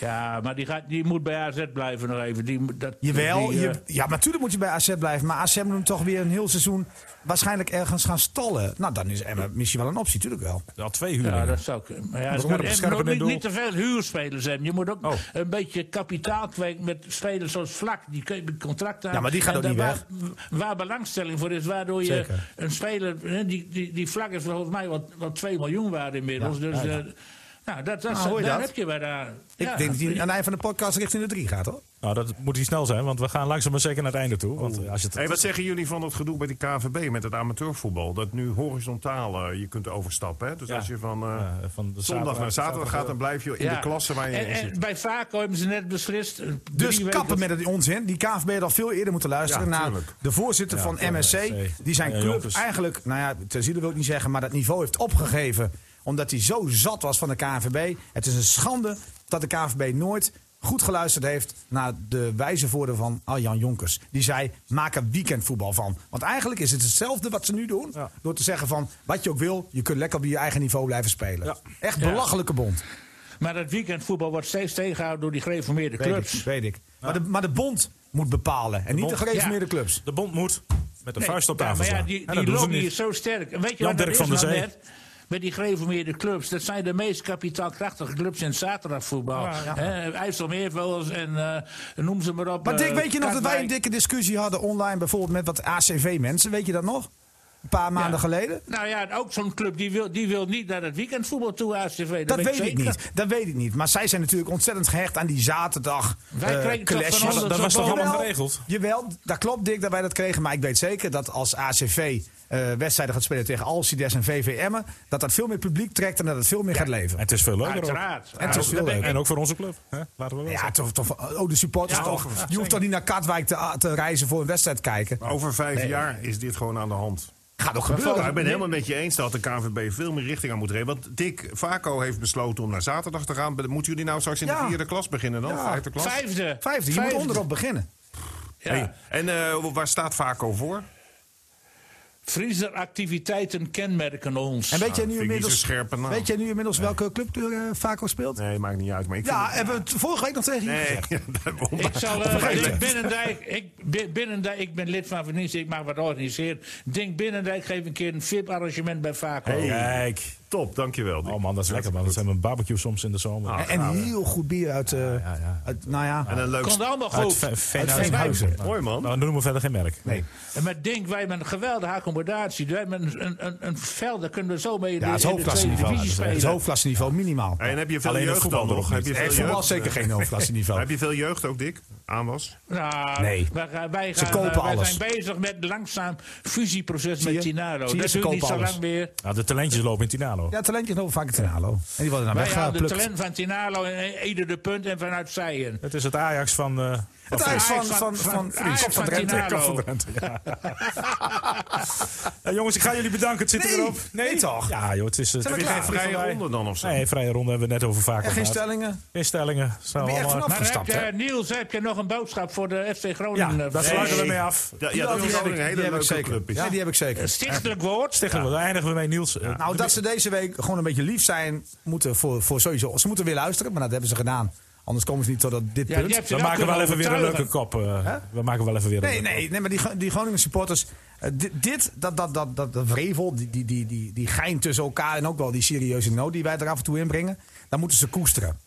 Ja, maar die, gaat, die moet bij AZ blijven nog even. Die, moet- dat,
Jawel,
die, eh,
je, ja, natuurlijk moet je bij AZ blijven. Maar AZ moet hem toch weer een heel seizoen waarschijnlijk ergens gaan stallen. Nou, dan is Emma misschien wel een optie, natuurlijk wel.
Al twee
Ja,
huurlingen.
dat zou kunnen. Maar ja, het
op
moet- en
scherp
moet
en in
niet,
doel.
niet te veel huurspelers hebben. Je moet ook
Oh.
een beetje kapitaal kweken met spelers zoals Vlak. Die kun- contracten aan.
Ja, maar die gaat
En
ook
daar
niet
waar, Waar belangstelling voor is, waardoor je
Zeker.
een speler... hè, Die, die, die Vlak is volgens mij wat, wat 2 miljoen waard inmiddels. dus, eh, nou, dat, dat,
hoor je
daar
dat?
heb je eh, bij daar.
Ik denk dat hij aan het einde van de podcast richting de drie gaat, hoor.
Nou, dat moet hij snel zijn, want we gaan langzaam maar zeker naar het einde toe. Want eh, als je het
Hey, wat zeggen jullie van dat gedoe bij de KVB met het amateurvoetbal? Dat nu horizontaal eh, je kunt overstappen. Hè? Dus
Ja.
als je van, eh,
eh, van de
zondag naar zaterdag gaat, dan blijf je in de klasse waar je
en,
in
en
zit.
bij Vaco hebben ze net beslist. eh,
Dus
drie
kappen
weken-
met het onzin. Die KVB had al veel eerder moeten luisteren
Ja,
naar
tuurlijk.
de voorzitter van
van
MSC.
MSC.
Die zijn
Ja,
club
jongens.
eigenlijk, nou ja, ter ziele wil ik niet zeggen, maar dat niveau heeft opgegeven. Omdat hij zo zat was van de KVB. Het is een schande dat de KVB nooit goed geluisterd heeft naar de wijze woorden van Arjan Jonkers. Die zei, maak er weekendvoetbal van. Want eigenlijk is het hetzelfde wat ze nu doen.
Ja.
Door te zeggen van, wat je ook wil, je kunt lekker op je eigen niveau blijven spelen.
Ja.
Echt
Ja.
belachelijke bond.
Maar dat weekendvoetbal wordt steeds tegengehouden door die gereformeerde
Weet
clubs.
ik, weet ik. Maar, de, maar de bond moet bepalen. En niet de
bond-
gereformeerde
Ja.
clubs.
De bond moet met de
Nee,
vuist op
ja,
tafel
Maar ja,
slaan.
die,
En
die
dat doen ze
lobby
niet.
is zo sterk. En weet je
Jan
wat dat
Dirk
is
van der
nou
Zee.
net? Met die gereformeerde clubs. Dat zijn de meest kapitaalkrachtige clubs in het zaterdagvoetbal. Hè, IJsselmeer wel eens en eh, noem ze maar op.
Maar Dick,
eh,
weet je nog dat wij een
Katwijk.
dikke discussie hadden online bijvoorbeeld met wat ACV-mensen? Weet je dat nog? Een paar maanden geleden?
Nou ja, ook zo'n club die wil, die wil niet naar het weekendvoetbal toe, ACV.
Dat
Dat, weet
weet ik
zeker.
niet. Dat weet ik niet. Maar zij zijn natuurlijk ontzettend gehecht aan die zaterdag.
Wij
eh,
kregen toch
clashes.
van ons
Dat- dat
zo'n
was toch
bal-
allemaal
Jawel,
geregeld?
Jawel, dat klopt Dick dat wij dat kregen. Maar ik weet zeker dat als ACV eh, wedstrijden gaat spelen tegen Alcides en VVM'en... dat dat veel meer publiek trekt en dat het veel meer gaat leven.
En het is veel leuker. ook.
Uiteraard.
En het is veel
Dat denk
leuker.
En ook voor onze club. Hè? Laten we wel
Ja,
zeggen.
toch, toch, oh, de supporters
Ja,
toch. Je hoeft toch niet naar Katwijk te, te reizen voor een wedstrijd kijken.
Over vijf jaar is dit gewoon aan de hand.
Gaat ook
Maar
gebeuren.
ik ben helemaal met je eens dat de KNVB veel meer richting aan moet reden. Want Dick Vaco heeft besloten om naar zaterdag te gaan. Moeten jullie nou straks in
Ja.
de vierde klas beginnen dan?
Ja.
Vijfde klas?
Vijfde.
Vijfde, je moet onderop beginnen.
Ja.
Hey, En eh, waar staat Vaco voor?
Vriezer activiteiten kenmerken ons.
En
Nou,
weet, jij
vind ik
nu
niet
inmiddels,
zo'n scherpe naam.
weet jij nu inmiddels welke clubkleur eh, Vaco speelt?
Nee, maakt niet uit. Maar ik
Ja,
vind het-
hebben we het vorige week nog tegen je
Nee,
gezegd.
daarom.
Ik zal, eh,
Vergeet
Dink
het.
Binnendijk, ik, Bi- Binnendijk, ik ben lid van Vernieuwd, ik mag wat organiseren. Dink Binnendijk geef een keer een VIP-arrangement bij Vaco.
Kijk.
Top, dankjewel. Dick.
Oh man, dat is lekker man. Dat zijn mijn barbecue soms in de zomer.
Ah.
En, en heel goed bier uit, eh, uit nou ja,
En een leuk...
Komt allemaal
Uit
goed.
Ve-
Uit
Veenhuizen.
Veenhuizen.
Mooi man.
Nou, dan noemen we verder geen merk. Nee.
En met Dink, wij hebben een geweldige accommodatie. Wij hebben een, een, een, een veld, daar kunnen we zo mee in de-
ja, het
in de tweede
hoofdklasseniveau.
divisie
Het
spelen.
hoofdklasseniveau minimaal.
Hey, en heb je veel
Alleen het
jeugd
voetbal
dan nog?
nog
Heb
niet.
je
Nee,
veel
voetbal is
jeugd?
zeker geen
Heb
hoofdklasseniveau.
je veel jeugd ook, Dick? Aanwas?
Nou,
Nee.
wij, gaan- wij
Ze
gaan,
kopen
eh, wij
alles.
zijn bezig met een langzaam fusieproces
Zie je?
met Tinaro.
Zie je,
Dat
ze
duurt niet
kopen
zo
alles.
lang meer.
Nou, de talentjes lopen in Tinalo.
Ja, talentjes lopen vaak in Tenalo. En die worden naar
Wij halen de
weggeplukt.
talent van Tinalo en Ede de Punt en vanuit Zijen.
Het is het Ajax van... eh, van-
Het ijs van,
Ajax
van,
van-
van,
van- Ajax
Kop van
van
Drenthe.
Tinalo.
Kop van Drenthe.
Ja, Eh, jongens, ik ga jullie bedanken. Het zit
Nee,
er erop.
nee toch?
Ja, joh, het is... eh, Het
Zijn
Heb
we
je
klaar?
geen vrije
Vrije
ronde?
ronde dan of zo?
Nee, vrije ronde hebben we het net over vaak
En geen
gehad.
stellingen.
Geen stellingen. Staan we
Ben je echt
allemaal-
vanaf?
Maar heb
Gestapt,
je,
hè?
Niels, heb je nog een boodschap voor de FC
Ja,
Groningen?
daar
Eh,
sluiten we mee af.
Ja, ja, dat is ook een hele
heb ik
leuke
zeker.
club. is.
Ja, die heb ik zeker.
Stichtelijk woord.
Stichtelijk, daar eindigen we mee, Niels. Eh,
Nou, dat ze deze week gewoon een beetje lief zijn, moeten voor, voor sowieso. Ze moeten weer luisteren, maar dat hebben ze gedaan. Anders komen ze niet tot dat dit
Ja, die
punt.
heb je
We
wel
maken wel
kunnen
even weer een leuke
overtuigen.
kop. eh. We maken wel even weer een
Nee,
leuke
nee, nee, maar die, Gro- die Groningen supporters. eh, di- dit, dat, dat, dat, dat, dat wrevel, die, die, die, die, die gein tussen elkaar en ook wel die serieuze nood die wij er af en toe inbrengen. Dan moeten ze koesteren.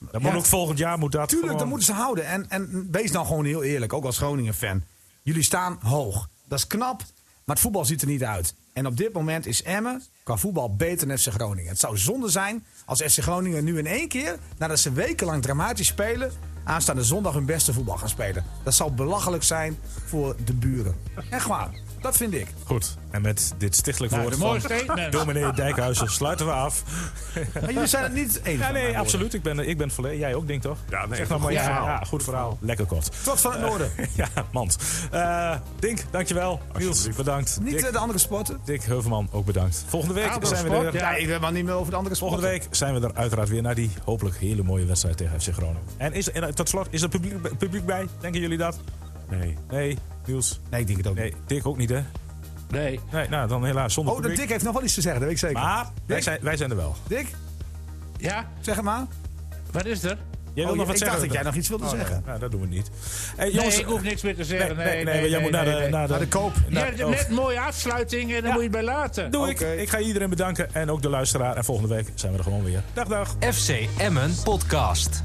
kop. Dat moet
Ja.
ook volgend jaar moet dat
Tuurlijk, dat
gewoon-
moeten ze houden. En, en wees nou gewoon heel eerlijk, ook als Groningen-fan. Jullie staan hoog. Dat is knap, maar het voetbal ziet er niet uit. En op dit moment is Emmen qua voetbal beter dan FC Groningen. Het zou zonde zijn als FC Groningen nu in één keer, nadat ze wekenlang dramatisch spelen, aanstaande zondag hun beste voetbal gaan spelen. Dat zou belachelijk zijn voor de buren. Echt waar, dat vind ik.
Goed. En met dit stichtelijk
Nou,
woord
een mooi
van
statement.
dominee Dijkhuizen sluiten we af.
Maar jullie zijn het niet eens.
Ja, nee, absoluut. Ik ben, eh, ik ben volledig. Jij ook, denk toch?
Ja, nee,
zeg nou maar
goed
ja,
verhaal.
ja, goed verhaal. Lekker kort.
Tot van het noorden.
Ja, mand. Eh, Dink, dankjewel. Niels,
Alsjeblieft.
bedankt.
Niet
Dick,
eh, de andere sporten.
Dick Heuvelman, ook bedankt. Volgende week
Ado
zijn we
Sport,
er.
ja.
Ja, ik wil maar niet meer over de andere sporten.
Volgende week zijn we er uiteraard weer naar die hopelijk hele mooie wedstrijd tegen FC Groningen. En, is, en tot slot, is er publiek, publiek bij? Denken jullie dat?
Nee.
Nee, Niels.
Nee, ik denk het ook niet.
Nee, Dick ook niet, hè?
Nee.
Nee, nou, dan helaas zonder
Oh, de
publiek.
Dick heeft nog wel iets te zeggen, dat weet ik zeker.
Maar wij
Dick?
zijn, wij zijn er wel.
Dick,
Ja,
zeg het maar.
wat is er?
Jij wil
Oh,
nog wat
ik
zeggen?
dacht dat jij nog iets wilde
Oh, nee.
zeggen.
Nou, dat doen we niet. Hey,
Nee,
jongens,
ik hoef niks meer te
Nee,
zeggen.
nee, nee, maar jij moet naar, de,
nee.
naar, de,
Naar de koop.
Je
naar-
hebt
oh.
net een mooie afsluiting en daar moet je het bij laten.
Doe
Oké.
ik. Ik ga iedereen bedanken en ook de luisteraar. En volgende week zijn we er gewoon weer. Dag, dag.
FC Emmen Podcast.